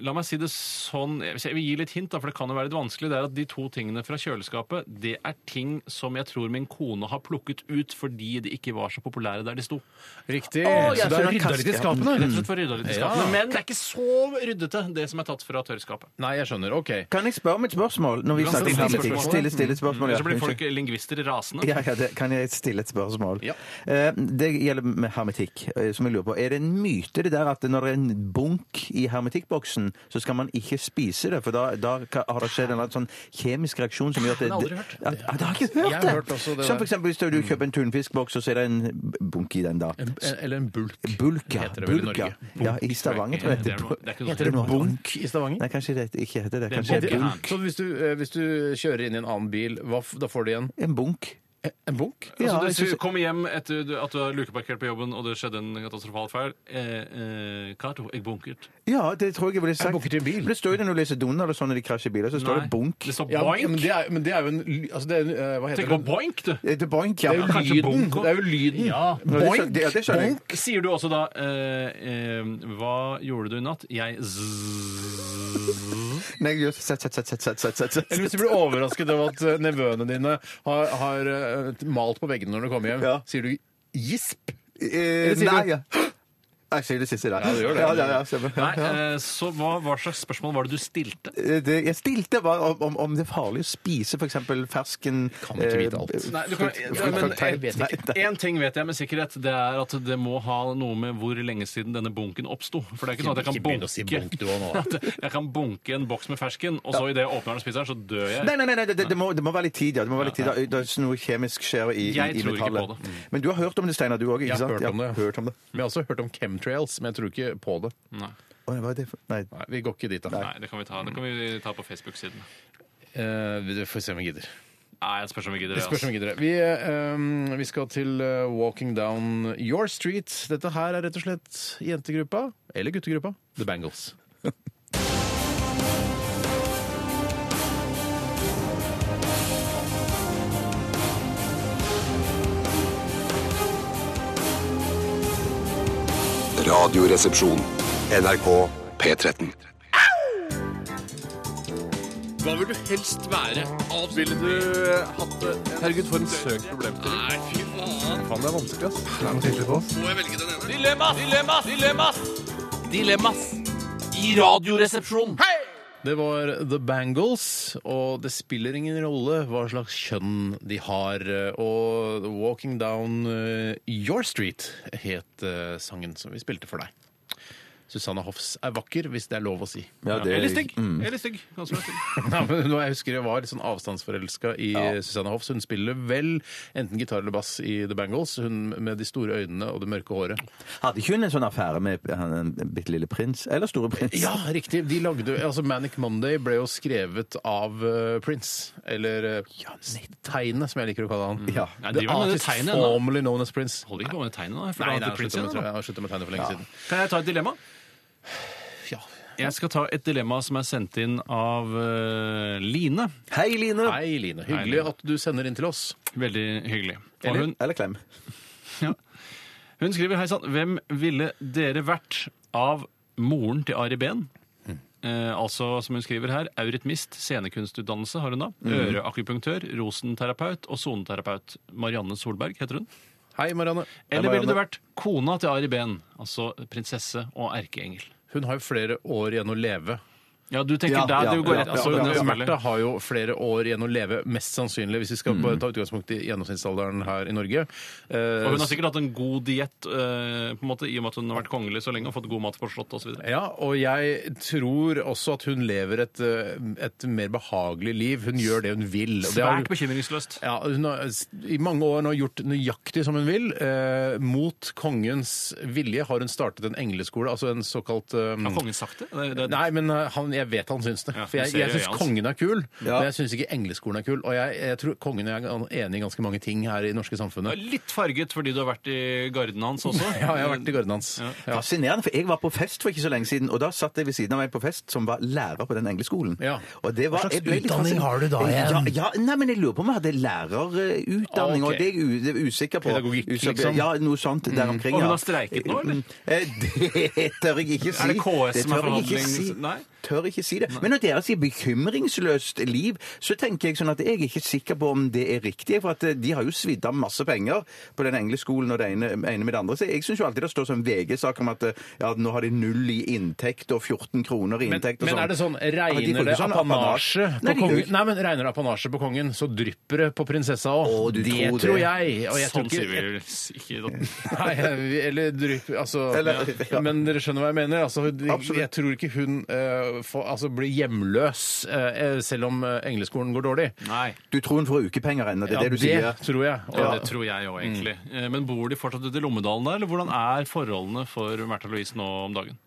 La meg si det sånn Hvis jeg vil gi litt hint, da, for det kan jo være litt vanskelig. Det er at de to tingene fra kjøleskapet, det er ting som jeg tror min kone har plukket ut fordi de ikke var så populære der de sto.
Riktig.
Å, jeg
Så det
skjønner
er rydda litt i
Rett
skapene.
og slett for å rydde litt i skapene. Men det er ikke så ryddete, det som er tatt fra tørrskapet.
Nei, jeg skjønner. OK.
Kan jeg spørre om et spørsmål? Når vi
kan
snakker
stille
om hermetikk?
spørsmål. Mm.
Stille, stille et spørsmål. ja.
Så blir
Unnskyld.
folk lingvister rasende.
Ja, ja, det, kan jeg stille et spørsmål?
Ja.
Eh, Det gjelder med hermetikk, eh, som jeg lurer på. Er det en myte det der at når det er en bunk i hermetikkboksen, så skal man ikke spise det? For da, da ka- har det skjedd en eller annen sånn kjemisk reaksjon som gjør at det,
har jeg aldri hørt.
Ja, ja, det har jeg ikke hørt
Jeg har
det!
hørt også det
som
der.
for eksempel hvis du kjøper en tunfiskboks, og så er det en bunk i den da.
Eller en bulk.
Bulka.
Heter det vel i
Bulka.
Norge.
Ja, i Stavanger tror jeg
Det er noe-
bu-
det er ikke noe- sånn
Heter det noe
Bunk i Stavanger?
Nei, kanskje det ikke heter det.
er
Kanskje det er
bulka.
bulk.
Så hvis du, eh, hvis du kjører inn i en annen bil, hva, f- da får du igjen
En bunk.
en bunk?
Ja,
altså,
jeg
hvis du
synes-
kommer hjem etter du- at du har lukeparkert på jobben, og det skjedde en katastrofal feil eh, eh, Kato, jeg bunkert.
Ja, det tror jeg jeg ville sagt.
bunker til en bil.
Men Det står jo det når du leser Donald og sånn når de krasjer biler, så står
Nei,
det bunk.
Det står
Ja,
boink.
men det er, men det er jo en ly- altså det er, en, eh, Hva heter
Tenk på
det?
boink, du!
Eh, Det er boink, ja.
Det er jo
kanskje
lyden.
bonk også.
Det er jo lyden.
Ja.
Ja, det skjø- det- ja, det skjønner jeg.
bonk.
Sier du også da eh, eh, Hva gjorde du i natt? Jeg zzz.
Nei, jeg gjør sett, sett, sett, sett, sett, sett, sett,
Eller hvis
sett.
du blir overrasket over at eh, nevøene dine har, har eh, malt på veggene når du kommer hjem,
Ja.
sier du gisp?
Eh,
sier
Nei,
du-
ja. Jeg sier det siste der.
Ja, du gjør det.
Ja, ja, ja, stemmer.
Nei,
Ja.
eh, så hva, hva slags spørsmål var det du stilte?
Eh, Det, jeg stilte bare om, om, om det er farlig å spise f.eks. fersken eh,
Kan ikke vite alt.
Nei, du kan,
frukt-
men,
fruktcocktail.
jeg vet ikke. En ting vet jeg med sikkerhet, det er at det må ha noe med hvor lenge siden denne bunken oppsto. For det er ikke sånn at jeg kan
Ikke begynn å si bunk du også nå, da.
bunke Jeg kan bunke en boks med fersken, og så idet jeg åpner den og spiser den, så dør jeg.
Nei, nei, nei, nei det, det, må, det må være litt tid, ja. Det må være litt tid, da. Det er noe kjemisk skjer i, i,
Jeg
i
tror ikke
metallet.
på det.
Men du har hørt om det, Steinar, du òg?
Mm. Jeg har hørt om det, ja.
Hørt om det.
Vi har også hørt om chemtrails, men jeg tror ikke på det.
Nei.
Å, hva er det for? Nei.
Nei, Vi går ikke dit, da.
Nei, det kan vi ta, det kan vi ta på Facebook-siden.
Eh, vi får se om vi gidder.
Nei, jeg spørs om vi
Det
gidder det.
spørs
Altså.
om vi gidder det. Vi, eh, vi skal til eh, Walking Down Your Street. Dette her er rett og slett jentegruppa, eller guttegruppa, The Bangles.
Radioresepsjon. NRK P13.
Hva vil du helst være? Ville du hatt det? Herregud, for en søk problemstilling. Nei, fy faen. Faen, det er vanskelig, ass. Må jeg velge den ene? Dilemmas! Dilemmas! Dilemmas! Dilemmas i Radioresepsjonen.
Det var The Bangles, og det spiller ingen rolle hva slags kjønn de har. Og Walking Down eh, Your Street het eh, sangen som vi spilte for deg. Susanne Hoffs er vakker, hvis det er lov å si.
Ja, det-
Eller stygg.
Mm.
Eller stygg. Kan også være stygg.
Ja, men nå jeg husker jeg var litt sånn avstandsforelska i Susanne Hoffs. Hun spiller vel enten gitar eller bass i The Bangles, hun med de store øynene og det mørke håret.
Hadde ikke hun en sånn affære med han, en bitte lille prins? Eller store prins?
Ja, riktig! De lagde, altså Manic Monday ble jo skrevet av eh, Prince. Eller uh, Tegnet, som jeg liker å kalle han.
Ja.
Nei,
The
driver med det
artist
tegnet, da.
formerly known as Prince.
Holder ikke på med tegnet nå. jeg får
Nei,
da
nei,
til
jeg
Prince
slutta med,
igjen, da.
jeg sluttet med tegnet for lenge siden.
Kan jeg ta et dilemma?
Ja.
Jeg skal ta et dilemma som er sendt inn av eh, Line.
Hei, Line!
Hei, Line.
Hei,
Hyggelig
Line.
at du sender inn til oss.
Veldig hyggelig. Og
Eller-
hun,
Eller klem.
hun skriver hei sann, hvem ville dere vært av moren til Ari Behn? Eh, altså, som hun skriver her, eurytmist, scenekunstutdannelse har hun da.
Mhm.
Øreakupunktør, rosenterapeut og soneterapeut. Marianne Solberg heter hun.
Hei, Marianne.
Eller ville du vært kona til Ari Behn? Altså prinsesse og erkeengel.
Hun har jo flere år igjen å leve.
Ja, du tenker
Ja,
der.
ja,
du går
ja,
rett
ja,
på
Altså,
den,
ja,
selvfølgelig. Mm.
Märtha har jo flere år igjen å leve, mest sannsynlig, hvis vi skal bare ta utgangspunkt i gjennomsnittsalderen her i Norge. Eh,
Og hun har sikkert hatt en god diett, eh, på en måte, i og med at hun har vært kongelig så lenge og fått god mat på slottet osv.
Ja, og jeg tror også at hun lever et, eh, et mer behagelig liv. Hun gjør det hun vil. og det har-
Svært bekymringsløst.
Ja, hun har s- i mange år nå gjort nøyaktig som hun vil. Eh, mot kongens vilje har hun startet en engleskole, altså en såkalt eh,
Har kongen sagt det? det, det
Nei, men eh, han, jeg vet han syns det.
Ja,
For jeg,
du ser
jeg
i
syns
øynene hans.
kongen er kul,
Ja.
men jeg syns ikke engleskolen er kul. Og jeg, jeg tror kongen og jeg er enige i ganske mange ting her i det norske
Du er
samfunnet.
Litt farget fordi du har vært i garden hans også.
Ja, jeg har vært i garden hans. Ja.
Fascinerende, for jeg var på fest for ikke så lenge siden, og da satt jeg ved siden av meg på fest som var lærer på den engleskolen.
Ja.
Og det var,
Hva slags
jeg ble litt
utdanning
fascin-
har du da
Ja,
igjen?
ja, nei, men jeg lurer på om jeg hadde lærerutdanning,
Ok.
og det er jeg u- det er jeg usikker på.
Pedagogikk,
usikker,
liksom?
Ja, noe sånt der omkring.
Og hun
ja.
har streiket nå, eller?
Eh, Det tør jeg ikke si.
Er det KS som er
tør jeg ikke
forhandling-
si.
Nei?
Tør ikke si det. Men når dere sier bekymringsløst liv, så tenker jeg sånn at jeg er ikke sikker på om det er riktig. For at eh, de har jo svidd av masse penger på den engleskolen og det ene, ene med det andre. Så jeg syns jo alltid det står som VG-sak om at eh, ja, nå har de null i inntekt og 14 kroner i
Men,
inntekt og
men
sånn.
er det sånn,
Ja, men de får
regner det
ikke sånn
apanasje på
Nei, de gjør
kongen?
ikke.
Nei, men regner det apanasje på kongen, så drypper det på prinsessa
Å,
òg.
du
Det
tror det.
tror jeg. Og jeg
Sånn
tror ikke
sier vi vel ikke da.
Nei, jeg- eller drypp altså,
Eller- ja.
Men dere skjønner hva jeg mener. Altså,
Absolutt.
jeg tror ikke hun eh, får, altså, blir hjemløs eh, selv om eh, engleskolen går dårlig.
Nei.
Du tror hun får ukepenger ennå, det er det du sier?
tror jeg. Og,
Ja, det tror jeg òg, egentlig. Eh, Men bor de fortsatt ute i Lommedalen der, eller hvordan er forholdene for Märtha Louise nå om dagen?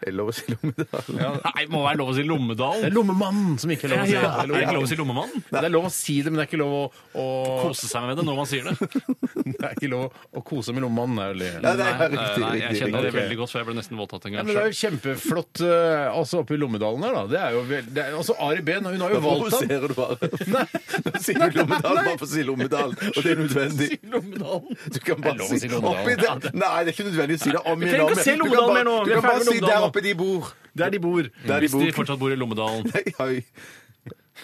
Jeg lover å si Lommedalen.
Nei, må være lov å si
Det er
Lommedalen!
lommemannen som ikke er lov å si det.
Er det ikke lov å si Lommemannen?
Det er lov å si det, men det er ikke lov å, å,
Kose seg med det når man sier det.
det er ikke lov å kose med lommemannen. Det er vel det.
Ja, det er riktig.
Nei, jeg
riktig,
kjenner det
riktig.
veldig godt, for jeg ble nesten voldtatt en
Ja, men
gang
det er
sjøl.
jo kjempeflott eh, altså oppe i Lommedalen her, da. Det er jo vel- det er, altså Ari Behn, hun har jo valgt ham.
Provoserer du bare? Nå sier du Lommedalen bare for å si Lommedalen, og det er nødvendig. Du kan
Det er
bare
lov å si
si
Lommedalen.
oppi der. Nei, det er ikke nødvendig å si det om
Vi
igjen.
trenger
om
ikke å se
igjen. Du kan
Lommedalen
bare-
mer nå. Vi
Du
er
kan bare
ferdig med
si
Lommedalen
der
nå.
oppe de bor.
Der de bor.
Der de
Hvis de
bor.
fortsatt bor i Lommedalen.
Hei, hei.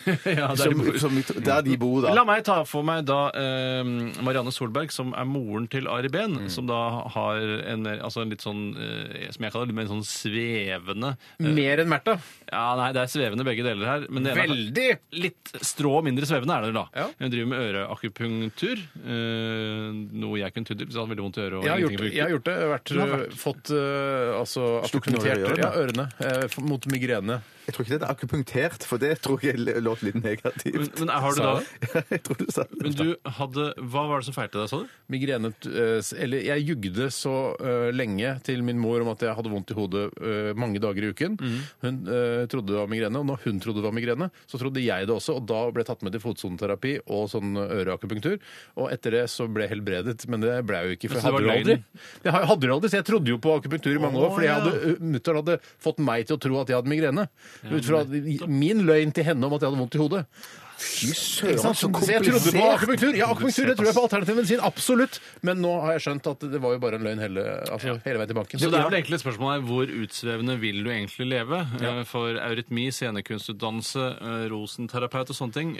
Ja, der de
Som,
bor.
som, der de bor, da.
La meg ta for meg da eh, Marianne Solberg, som er moren til Ari Behn,
Mm.
som da har en, mer- altså en litt sånn eh, som jeg kaller det, en sånn svevende
Mer enn Märtha.
Ja, nei, det er svevende begge deler her. Men det ene
Veldig!
Litt strå mindre svevende er det da.
Ja.
Hun driver med øreakupunktur, eh, noe jeg kunne tydd til, så jeg hadde veldig vondt i øret. og
Jeg har
ingenting
gjort,
å bruke.
jeg har gjort det. Jeg har vært,
har vært.
fått eh, altså,
Stukket
akupunktert
nåler i øret,
ja, ørene eh, f- mot migrene.
Jeg tror ikke det er akupunktert, for det tror jeg er låt litt negativt.
Men, men har du
Sa
da
jeg
jeg tror du sa det.
Men du hadde Hva var det som feilte deg, sa du?
Migrene eh, s- Eller jeg jugde så eh, lenge til min mor om at jeg hadde vondt i hodet eh, mange dager i uken. Hun eh, trodde det var migrene, og når hun trodde det var migrene, så trodde jeg det også. Og da ble jeg tatt med til fotsoneterapi og sånn øreakupunktur. Og etter det så ble jeg helbredet, men det ble jeg jo ikke. For jeg
Så det
hadde
var
det aldri. Jeg ha- hadde det aldri, så jeg trodde jo på akupunktur i mange år. Fordi jeg hadde- eh, mutter'n hadde fått meg til å tro at jeg hadde migrene. Ut fra min løgn til henne om at jeg hadde vondt i hodet. Ikke sant?
så
Så jeg trodde på
komplisert.
akupunktur. Ja, akupunktur det tror jeg på alternativ medisin, absolutt. Men nå har jeg skjønt at det var jo bare en løgn hele, altså, hele veien til banken.
Så det er vel egentlig et spørsmål her hvor utsvevende vil du egentlig leve? Eh, For eurytmi, scenekunstutdannelse, eh, rosenterapeut og sånne ting.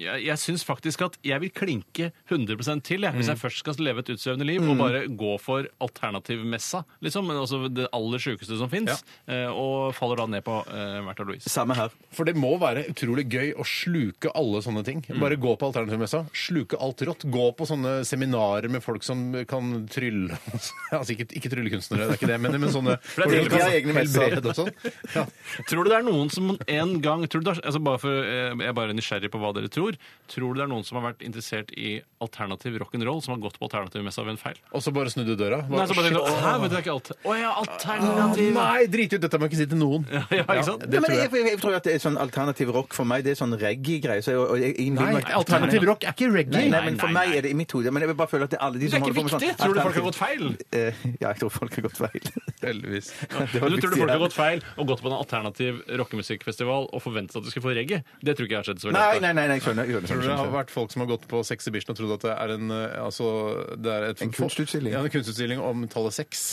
Jeg, jeg syns faktisk at jeg vil klinke 100 til jeg, hvis jeg først skal leve et utsvevende liv og bare gå for alternativmessa, liksom. Men altså det aller sjukeste som fins. Og faller da ned på eh, Märtha Louise.
Samme her.
For det må være utrolig gøy å sluke alle sånne ting.
Mm.
Bare gå på alternativmessa, sluke alt rått. Gå på sånne seminarer med folk som kan trylle Altså ikke, ikke tryllekunstnere, det er ikke det, men, men sånne
det
folk
er
som
de har
kan
egne messer.
helbrede og sånn. Ja.
Tror du det er noen som en gang tror du det er, altså bare for, eh, Jeg er bare nysgjerrig på hva dere tror. Tror du det er noen som har vært interessert i alternativ rock'n'roll, som har gått på alternativmessa ved en feil?
Og så bare snudde døra.
Nei, så bare
Shit.
tenker du, Hæ, men det er ikke alt. Å ja, alternativ.
Nei, drit ut! Dette må jeg ikke si til noen.
Ja, ja, ikke sant?
Nei, men jeg, jeg, jeg tror at det er sånn alternativ rock for meg. Det er sånn reggae-greier. så jeg- og jeg- jeg innbiller
Nei,
meg-
alternativ rock er ikke reggae.
Nei, nei, men for
nei,
meg er det i mitt hode. Men jeg vil bare føle at det er alle de
Det
som
er ikke
holder på med sånn
viktig. Tror du folk har gått
alternativ-
feil?
Eh, Ja, jeg tror folk har gått feil.
Heldigvis.
Det var
Du tror
viktig,
folk
ja.
har gått feil og gått på en alternativ rockemusikkfestival og forventet at du skulle få reggae? Det tror ikke jeg har skjedd så veldig
Nei,
ofte.
nei, nei, nei, skjønner. skjønner,
Tror du det
skjønner,
har
skjønner.
vært folk som har gått på Sex Exhibition og trodd at det er en, eh, altså, det er et,
En kunstutstilling.
Ja, en kunstutstilling om tallet seks?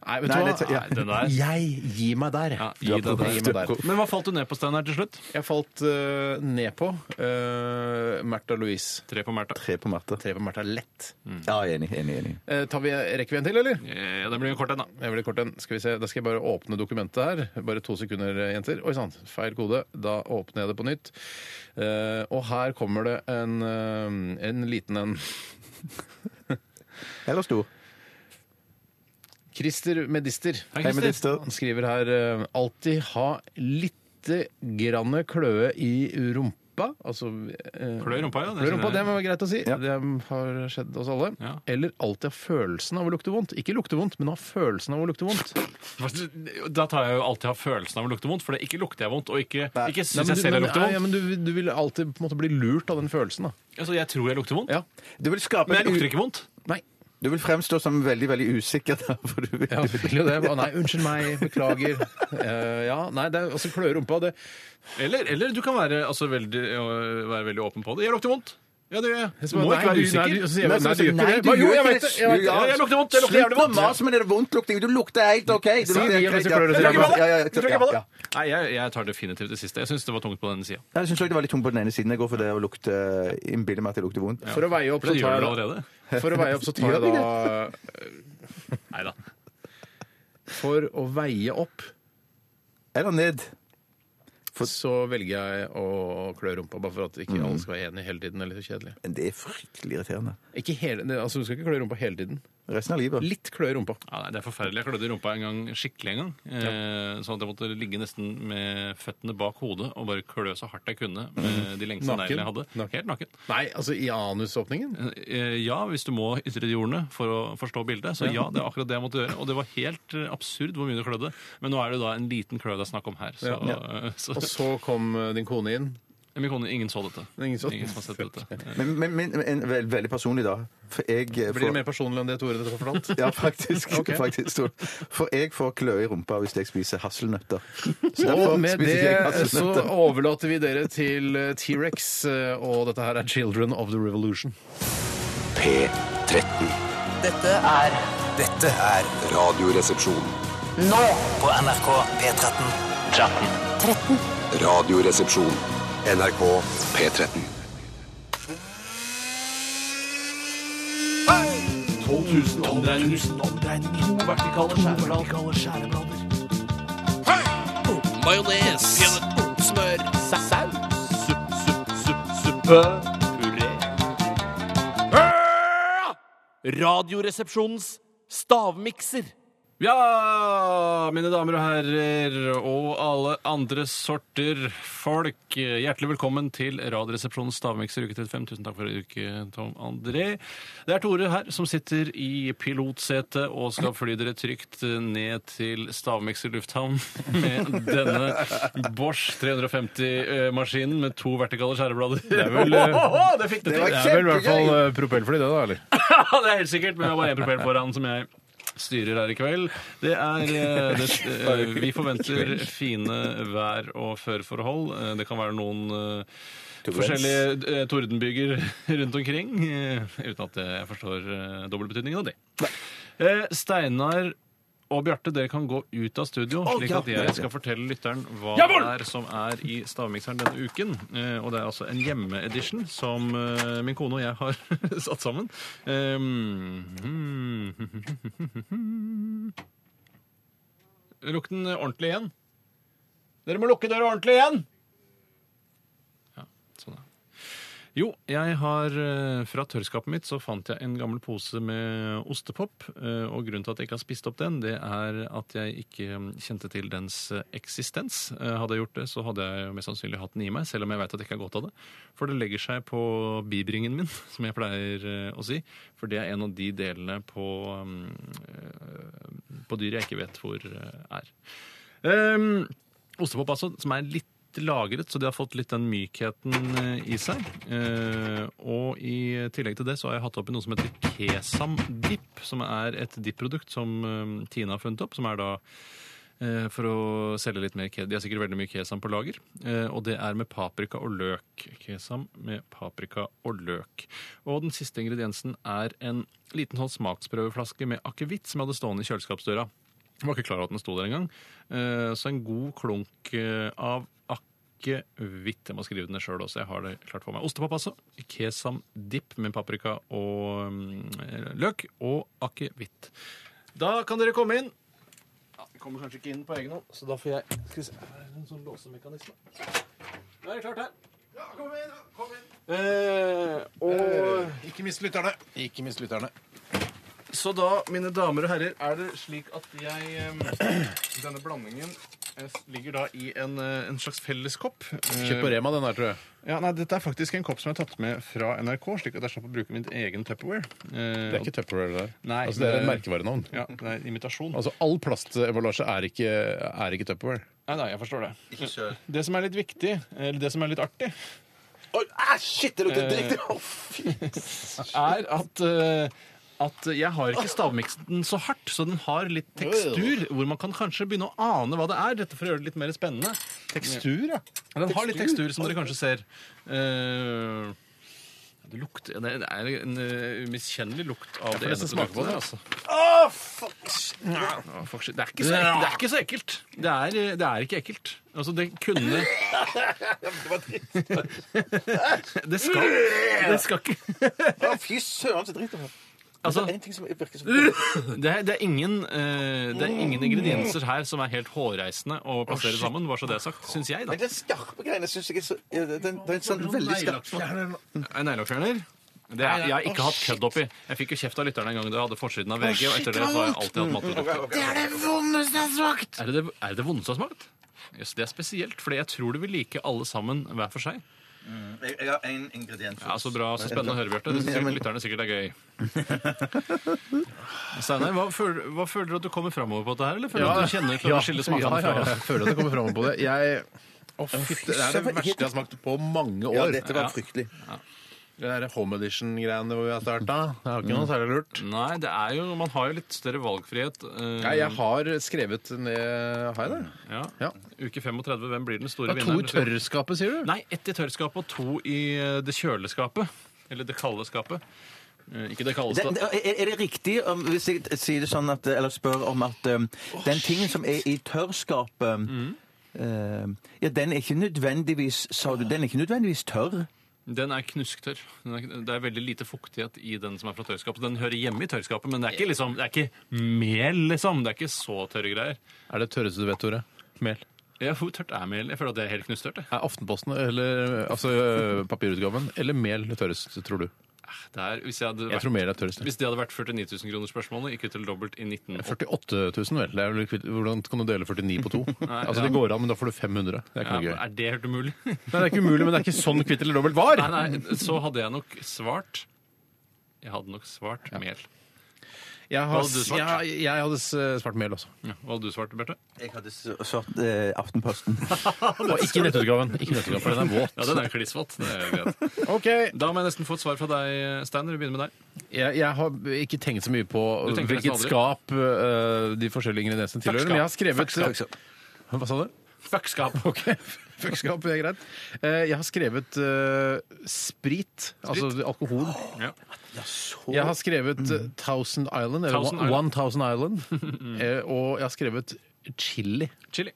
Nei, vet
Nei,
du
det-
hva?
ja.
Nei, den der. Jeg gir meg der.
Ja,
Du er
gi deg
på-
der.
gi meg der.
Men hva falt du ned på, Steinar, til slutt?
Jeg falt eh, ned på uh, Märtha Louise.
Tre på Märtha.
Tre på matte.
Tre på Märtha lett.
Ja, jeg er enig. enig, enig.
Eh, tar vi, rekker vi en til, eller?
Ja, det blir jo kort en, da.
Jeg vil kort en. Skal vi se. Da skal jeg bare åpne dokumentet her. Bare to sekunder, eh, jenter. Oi sann, feil kode. Da åpner jeg det på nytt. Eh, og her kommer det en, eh, en liten en.
Eller stor.
Christer Medister.
Hei, Christer.
Han skriver her eh, alltid ha lite grann kløe i rumpa. Altså eh,
Klø i rumpa, ja. Det
Kløe i rumpa,
skjønner
det
jeg.
var greit å si. Det har skjedd oss alle.
Ja.
Eller alltid ha følelsen av å lukte vondt. Ikke lukte vondt, men ha følelsen av å lukte vondt.
Da tar jeg jo alltid ha følelsen av å lukte vondt, for det ikke lukter jeg vondt, og ikke,
Nei,
ikke syns
men
jeg
du-
selv jeg
men-
lukter
ja,
vondt.
men du, du vil alltid på en måte bli lurt av den følelsen, da.
Altså, jeg tror jeg lukter vondt,
Ja.
Du vil skape
men jeg
en u-
lukter ikke vondt.
Nei.
Du vil fremstå som veldig, veldig usikker. da, For du vil...
Ja, du vil jo det. Å, Nei, unnskyld meg, beklager. Eh, ja, nei, det er altså kløe i rumpa. Det,
Eller, eller du kan være, altså, veldig, øh, være veldig åpen på det. Jeg lukter vondt. Ja, det gjør jeg. Du må
Nei,
ikke
du- nei,
være
du-
usikker. Altså,
så sier jeg,
Nei,
nei, du gjør ikke det.
du
Bare, jo,
gjør
jeg
ikke
vet
det.
det, jeg vet det.
Ja,
jeg lukter vondt, jeg lukter jævlig vondt.
Slutt å mase med det vondtlukting. Du lukter helt OK. Du
Si
lukter
vi, mens
helt
du
greit,
klør deg
ja.
i rumpa.
Ja, ja, ja,
Tror ikke på
ja,
det.
ja.
Nei, jeg, jeg tar definitivt det siste. Jeg syns det var tungt på denne sida.
Jeg syns det var litt tungt på den ene siden. Jeg går for det å lukte eh, Innbiller meg at det lukter vondt.
For å veie opp,
Det
så
gjør du vel
tar jeg,
allerede?
for å veie opp, så tar jeg da
Nei da.
For å veie opp
Eller ned.
så velger jeg å klø rumpa, bare for at ikke alle skal være enige hele tiden. Eller kjedelig.
Men det er fryktelig irriterende.
Ikke hele, det- altså, du skal ikke klø rumpa hele tiden.
Resten av livet.
Litt klø i rumpa.
Ja, nei, det er forferdelig. Jeg klødde i rumpa en gang, skikkelig en gang. Eh, sånn at jeg måtte ligge nesten med føttene bak hodet og bare klø så hardt jeg kunne med de lengste
Mhm. Naken?
neglene jeg hadde.
Naken.
Helt naken.
Nei, altså i anusåpningen.
Eh, Ja, hvis du må ytre de ordene for å forstå bildet. Så ja, det er akkurat det jeg måtte gjøre. Og det var helt eh, absurd hvor mye det klødde. Men nå er det jo da en liten klø det er snakk om her. Så, eh, så,
Og så kom eh, din kone inn.
min kone, ingen så dette.
Ingen så-
har sett dette. Eh,
Men, men, men en, vel- veldig personlig, da. For jeg eh,
Blir det
får-
mer personlig enn det Tore dere har fortalt?
Ja, faktisk.
Ok.
faktisk Tor. for jeg får kløe i rumpa hvis jeg spiser hasselnøtter. Så derfor
Og med
spiser ikke jeg
det så
hasselnøtter.
overlater vi dere til eh, T-rex, eh, og dette her er 'Children of the Revolution'.
P13.
Dette er Dette er
Radioresepsjon.
Nå på NRK P13. 13.
Radioresepsjon. NRK P13.
Majones. Smør. Saus. Supp, supp, supp, suppe. Puré. Radioresepsjonens stavmikser.
Ja, mine damer og herrer og alle andre sorter folk. Hjertelig velkommen til Radioresepsjonens stavmikser uke 35. Tusen takk for uke, Tom André. Det er Tore her som sitter i pilotsetet og skal fly dere trygt ned til Stavmikser lufthavn med denne Bosch 350-maskinen med to vertikale skjæreblader. Det
er vel, eh,
det fikk du til!
Det er vel i hvert fall eh, propellfly, det, da? eller?
Ja, det er helt sikkert, men det er bare én propell foran som jeg styrer her i kveld. Det er eh, det, eh, Vi forventer fine vær- og førforhold. Eh, Det kan være noen eh, forskjellige eh, tordenbyger rundt omkring. eh, Uten at jeg forstår eh, dobbeltbetydningen av det. Eh, Steinar og Bjarte, dere kan gå ut av studio, slik at jeg skal fortelle lytteren hva det er som er i stavmikseren denne uken. Eh, og det er altså en hjemmeedition som eh, min kone og jeg har satt sammen. hmm. Eh, mm, Lukk den ordentlig igjen. Dere må lukke døra ordentlig igjen! Ja, sånn er det. Jo, jeg har eh, fra tørrskapet mitt så fant jeg en gammel pose med ostepop. eh, Og grunnen til at jeg ikke har spist opp den, det er at jeg ikke mm, kjente til dens eh, eksistens. Eh, Hadde jeg gjort det, så hadde jeg jo mest sannsynlig hatt den i meg, selv om jeg veit at jeg ikke har godt av det. For det legger seg på bibringen min, som jeg pleier eh, å si. For det er en av de delene på, mm, eh, på dyr jeg ikke vet hvor eh, er. Um, ostepop, altså, som er litt lagret, så de har fått litt den mykheten eh, i seg. Eh, og i tillegg til det så har jeg hatt oppi noe som heter Kesam Dip, som er et dipprodukt som eh, Tina har funnet opp, som er da eh, for å selge litt mer ke- De har sikkert veldig mye kesam på lager. eh, Og det er med paprika og løk. Kesam med paprika og løk. Og den siste ingrediensen er en liten sånn smaksprøveflaske med akevitt som jeg hadde stående i kjøleskapsdøra. Jeg var ikke klar over at den sto der engang. Eh, Så en god klunk eh, av akevitt. Jeg må skrive den ned sjøl også. Jeg har det klart for meg. Ostepop, altså. Kesam dip med paprika og mm, løk. Og akevitt. Da kan dere komme inn. Ja, vi kommer kanskje ikke inn på egen hånd, så da får jeg Skal vi se Her er det en sånn låsemekanisme. Da er det klart her. Ja, kom inn! Kom inn. og
Ikke mist lytterne. Ikke mist lytterne.
så da, mine damer og herrer, er det slik at jeg eh, Denne blandingen eh, ligger da i en, eh, en slags felleskopp. Eh,
Kjøp på Rema, den der, tror jeg.
Ja, nei, Dette er faktisk en kopp som jeg har tatt med fra NRK, slik at jeg slapp å bruke min egen Tupperware. Eh,
Det er ikke Tupperware, det der.
Nei,
altså, det er
det-
et merkevarenavn.
ja, det er imitasjon.
Altså, all plasteballasje er ikke, er ikke Tupperware.
Nei, nei, jeg forstår det. Det som er litt viktig, eller det som er litt artig, Eh,
Oi, ah, shit, det lukter dritt! Å, fy.
er at eh, at jeg har ikke stavmiksen så hardt, så den har litt tekstur, hvor man kan kanskje begynne å ane hva det er. Dette for å gjøre det litt mer spennende.
Tekstur, ja.
Ja, Den har litt tekstur, som dere kanskje ser. Eh, det, lukter, det er en eh, umiskjennelig lukt av det ene
nesten smake på det,
altså. fuck shit. Det er ikke så ekkelt. Det er, ikke så ekkelt. Det er, eh, det er ikke ekkelt. Altså, det kunne Det skal Det skal ikke
Å, Fy søren, så dritt det var.
Altså,
En ting som virker som
det er, det, er ingen, eh, det er ingen ingredienser her som er helt hårreisende å plassere sammen, bare så det er sagt, syns jeg, da.
Men den skarpe greiene syns jeg er så ja, den, den, den er sånn veldig skarp.
En neglelakkfjerner? Eh, Det er, jeg har ikke hatt kødd oppi. Jeg fikk jo kjeft av lytterne en gang da jeg hadde forsiden av VG, og etter det så har jeg alltid hatt matprodukter. Er det er det vondeste jeg har smakt? Jøss, det er spesielt, for jeg tror du vil like alle sammen hver for seg.
Jeg, jeg har én ingrediens.
Ja, Så bra, så spennende å høre, Bjarte. Det syns lytterne sikkert er gøy. Steinar, hva, føler- hva føler du at du kommer framover på dette her, eller føler du at du kjenner klarer å skille smakene
ja, ja,
fra?
Jeg føler at det kommer fram på det. Jeg... Å, fytte, det er det verste jeg har smakt på mange år.
Ja, dette
Ja.
var fryktelig.
Det der Home Edition-greiene hvor vi har starta. Det er ikke noe særlig lurt.
Nei, det er jo, man har jo litt større valgfrihet. eh,
Nei, jeg har skrevet ned Har jeg det?
ja.
Ja.
Uke 35, hvem blir den
Det
store
er to
vinneren?
i tørrskapet, sier du?
Nei, ett i tørrskapet og to i eh, det kjøleskapet. Eller det kalde skapet. Eh, Ikke det kaldeste.
Det- det- Er er det riktig om, hvis jeg sier det sånn at, eller spør om at um, den tingen som er i tørrskapet eh, ja, den er ikke nødvendigvis Sa du den er ikke nødvendigvis tørr?
Den er knusktørr. Den er, det er veldig lite fuktighet i den som er fra tørrskapet. Den hører hjemme i tørrskapet, men det er ikke, liksom, det er ikke mel, liksom. Det er ikke så tørre greier.
Er det tørreste du vet, Tore? Mel.
Ja, hvor tørt er mel? Jeg føler at det er helt knusktørt. jeg.
Er Aftenposten, eller altså ø, papirutgaven, eller mel det tørreste, tror du?
Der, Ah, hvis, jeg hadde
Jeg
vært,
tror mer det er tørrest.
hvis det hadde vært 49 000 kroner spørsmålet, ikke til dobbelt i 1980
48 000, vel. Det er vel, kvitt- hvordan kan du dele 49 på to? altså,
ja.
Det går an, men da får du 500. Det er ikke
ja,
noe
men
gøy.
Er det helt umulig?
Nei, det er ikke umulig, men det er ikke sånn kvitt eller dobbelt var!
Nei, nei, så hadde jeg nok svart Jeg hadde nok svart mel.
Jeg,
Hva
har,
hadde du svart?
jeg, jeg hadde s- svart mel også.
Hva hadde du svart, Bjarte?
Jeg hadde svart eh, Aftenposten.
Og ikke nettutgaven. Ikke nettutgaven, for den er våt.
Ja, den er klissvåt. Det er greit.
Ok,
Da må jeg nesten få et svar fra deg, Steiner. Vi begynner med deg.
jeg, jeg har ikke tenkt så mye på
Du tenker nesten
hvilket
aldri.
skap øh, de forskjellige ingrediensene tilhører, men jeg har skrevet Hva sa du?
Fuckskap.
Ok, Fuckskap det er greit. Eh, Jeg har skrevet eh, sprit, altså alkohol.
Ja.
Jeg har skrevet eh, Thousand Island, eller
Thousand
One,
Island.
One Thousand Island. Eh, Og jeg har skrevet chili.
Chili.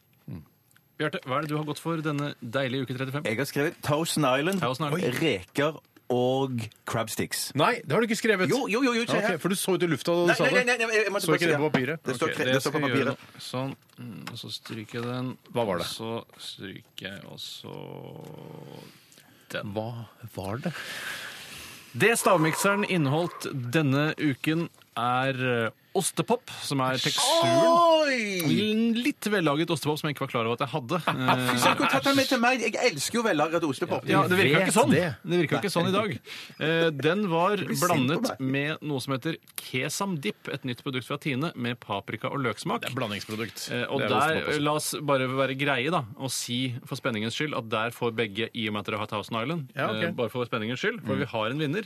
Bjarte, hva er det du har gått for denne deilige uke 35?
Jeg har skrevet Thousand Island,
Thousand Island.
reker og crabsticks.
Nei, det har du ikke skrevet!
Jo, jo, jo, jo, se
Ok,
her.
for du så ut i lufta da du
Nei,
sa
nei,
det.
nei, nei, jeg måtte
Så
bare
ikke
si
det på papiret?
Det står,
Ok,
det står på
skal jeg gjøre
papiret.
nå. Sånn. Mm, Og så stryker jeg den.
Hva var det?
Og Så stryker jeg også den.
Hva var det?
Det stavmikseren inneholdt denne uken, er eh, ostepop, som er teksturen. En Litt vellaget ostepop som jeg ikke var klar over at jeg hadde. Eh,
Hvis jeg kunne tatt den med til meg Jeg elsker jo vellagret ostepop.
Ja, Det virker jo ikke sånn
det.
Det virker jo ikke sånn i dag. Eh, Den var
sint på
blandet
meg.
med noe som heter kesam dip, et nytt produkt fra Tine, med paprika og løksmak.
Blandingsprodukt.
Eh, Og
Det er ostepop
der,
også.
La oss bare være greie da, og si for spenningens skyld at der får begge i og med at dere har Thousand Island.
Ja, ok. Mm.
eh, Bare for spenningens skyld, for vi har en vinner.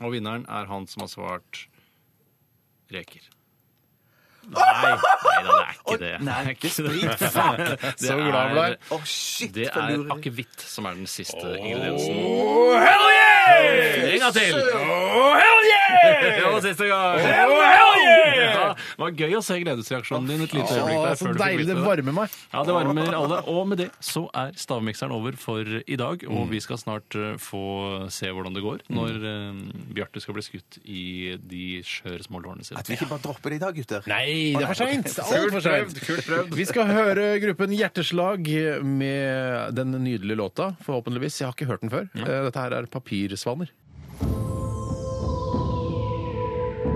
Og vinneren er han som har svart reker. Nei, nei da, det er ikke det.
Nei,
det er ikke det.
sprit.
Det
Så glad jeg ble.
er-
Å, shit,
Det
for
er
lurer.
akevitt som er den siste ingrediensen.
yeah!
En gang til! Det var siste gang! Ja, det var gøy å se gledesreaksjonen din et lite øyeblikk der.
Å, så
før du fikk
deilig.
vite
Det
det.
varmer meg.
Ja, det varmer alle. Og med det så er stavmikseren over for i dag.
Mm.
Og vi skal snart eh, få se hvordan det går når eh, Bjarte skal bli skutt i de skjøre små lårene sine.
At vi ikke bare dropper det i dag, gutter.
Nei, det er for seint! Det er
Kult
altfor seint.
prøvd, kult prøvd.
Vi skal høre gruppen Hjerteslag med den nydelige låta, forhåpentligvis. Jeg har ikke hørt den før. Eh, Dette her er Papirsvaner.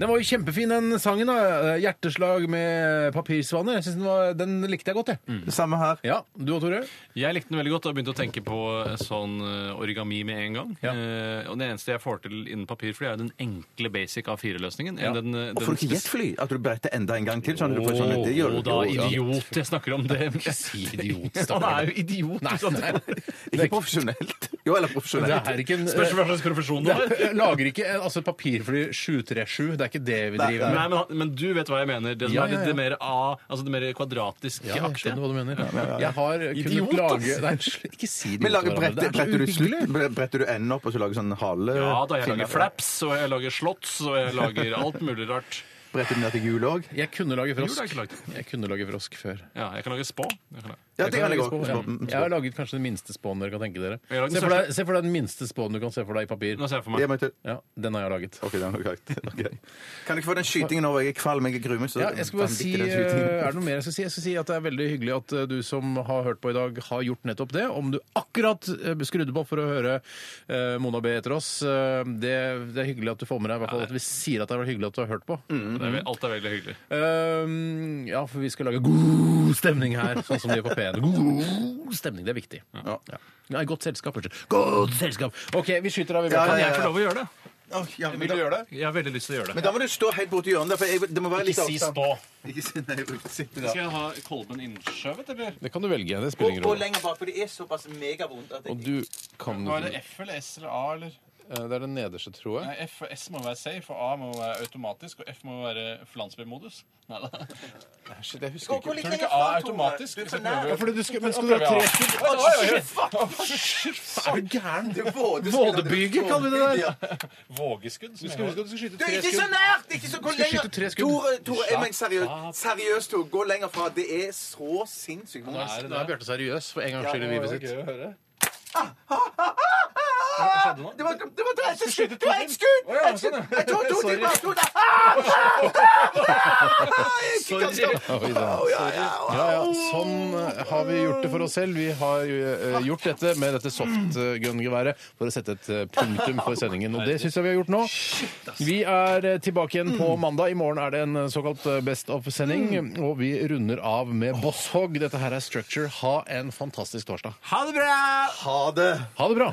Den var jo kjempefin, den sangen. da. Eh, Hjerteslag med papirsvaner. Jeg synes den, var, den likte jeg godt, jeg.
Mm.
Det samme her.
Ja, Du og Tore?
Jeg likte den veldig godt og begynte å tenke på sånn eh, origami med en gang.
Ja.
Eh, og det eneste jeg får til innen papirfly, er jo den enkle basic A4-løsningen.
Ja.
Den, eh,
Og får
den
du ikke
spes-
jetfly? At du bretter enda en gang til? Sånn, at du får sånn, det gjør
Å
du.
da,
jo, ja.
idiot! Jeg snakker om det.
Ikke si idiot,
Han
stakkar.
er jo idiot!
Nei,
ikke sant?
nei.
Ikke profesjonelt. Jo, eller
Det
profesjonelt.
er ikke en
Spørs hva slags profesjon du har.
Jeg lager ikke en, altså, papirfly 737. Det er ikke det vi driver med.
Nei, men, han- men du vet hva jeg mener. Det som
Ja,
er det,
ja, ja.
det mer A, altså det mer kvadratiske
Ja, jeg
aktige.
skjønner hva du mener. Jeg har kunnet
Idiot,
lage
ass.
Nei, sl- ikke si idiot.
Men lager
til hverandre. Det er så
bretter, bretter, du
uhyggelig.
slutt, bretter du enden opp og så lager sånn hale?
Ja da, jeg lager
fingre-
flaps, og jeg lager slotts, og jeg lager alt mulig rart.
Bretter du ned til jul òg?
Jeg kunne lage
Jul har jeg
frosk.
ikke lagd.
Jeg kunne lage frosk før.
Ja, jeg kan lage spå. Jeg kan lage.
Ja, det kan jeg
lage
òg.
spå, ja. Jeg har laget kanskje den minste spåen dere kan tenke dere.
Jeg har laget den
Se for deg, se for deg den minste spåen du kan se for deg i papir.
Nå ser jeg for
Jeg
meg.
må Mm. til.
Ja, den har jeg laget.
Ok, det er noe greit. Ok. Kan du ikke få den skytingen over? Jeg er kvalm, jeg er grumme. så-
Ja, jeg skal bare
Fan,
si,
ikke den
eh,
skytingen.
Er det noe mer jeg skal si? Jeg skal si at Det er veldig hyggelig at eh, du som har hørt på i dag, har gjort nettopp det. Om du akkurat eh, skrudde på for å høre eh, Mona B etter oss, eh, det, det er hyggelig at du får med deg i hvert fall at vi sier at det har vært hyggelig at du har hørt på.
Det er, ve- alt er veldig hyggelig.
Ehm, ja, for vi skal lage god stemning her, sånn som de gjør på P1. God stemning, det er viktig. Ja. Nei, godt selskap, kanskje. Godt selskap! OK, vi skyter av. i hvert
Ja,
fall.
ja,
Jeg får lov å gjøre det.
Å, ja, men
Vil
da-
du gjøre det?
Jeg har veldig lyst til å gjøre
Men
det.
da må du stå helt borti hjørnet. For jeg, det må være litt
Ikke si
avstand.
stå.
Ikke si nei, jeg sitter
Skal
der.
jeg ha kolben innskjøvet, eller?
Det kan du velge. Det spiller ingen
Gå
rolle.
lenger bak, for det er såpass megavondt at
Og du kan
Nå er det F eller S eller A, eller?
Eh, Det er den nederste, tror jeg.
Nei, F og S må være safe, og A må være automatisk, og F må være flansbymodus. Nei da.
Shit, jeg husker ikke.
Tror du ikke A er automatisk?
Du er
Hvis
for
jeg prøver-
nær.
Ja, fordi du skal, men skal du ha tre skudd?
Å, shit, fuck!
Er du gæren?
Du vådeskudd.
Vådebyge, kaller vi det der.
Ja.
Vågeskudd?
Du
som
skal
jeg har.
huske at du skal skyte
Du,
tre
ikke så
skudd.
nært! Ikke så, gå
skal
lenger.
skyte tre skudd.
Tore, Tore, jeg mener seriøst. Seriøst, Tore. Gå lenger fra. Det er så sinnssykt vondt.
Nå er Bjarte seriøs for en gangs skyld i livet sitt.
å høre. Hva skjedde nå?
Det var, det var 30 skudd! Det var ett skudd!
Å, ja,
Ett skudd!
sånn, ja.
Jeg tok to
Sorry.
til bare to der. Ah! Ah! Ah! Jeg
Sorry.
kan ikke-
Oi, da.
Au, ja, ja, au.
Ja, ja, sånn eh, har vi gjort det for oss selv. Vi har eh, gjort dette med dette softgun-geværet for å sette et eh, punktum for sendingen. Og det syns jeg vi har gjort nå. Vi er eh, tilbake igjen på mandag. I morgen er det en eh, såkalt eh, Best of-sending.
Mm.
Og vi runder av med Bosshog. Dette her er Structure. Ha en fantastisk torsdag.
Ha det bra!
Ha det!
Ha det bra!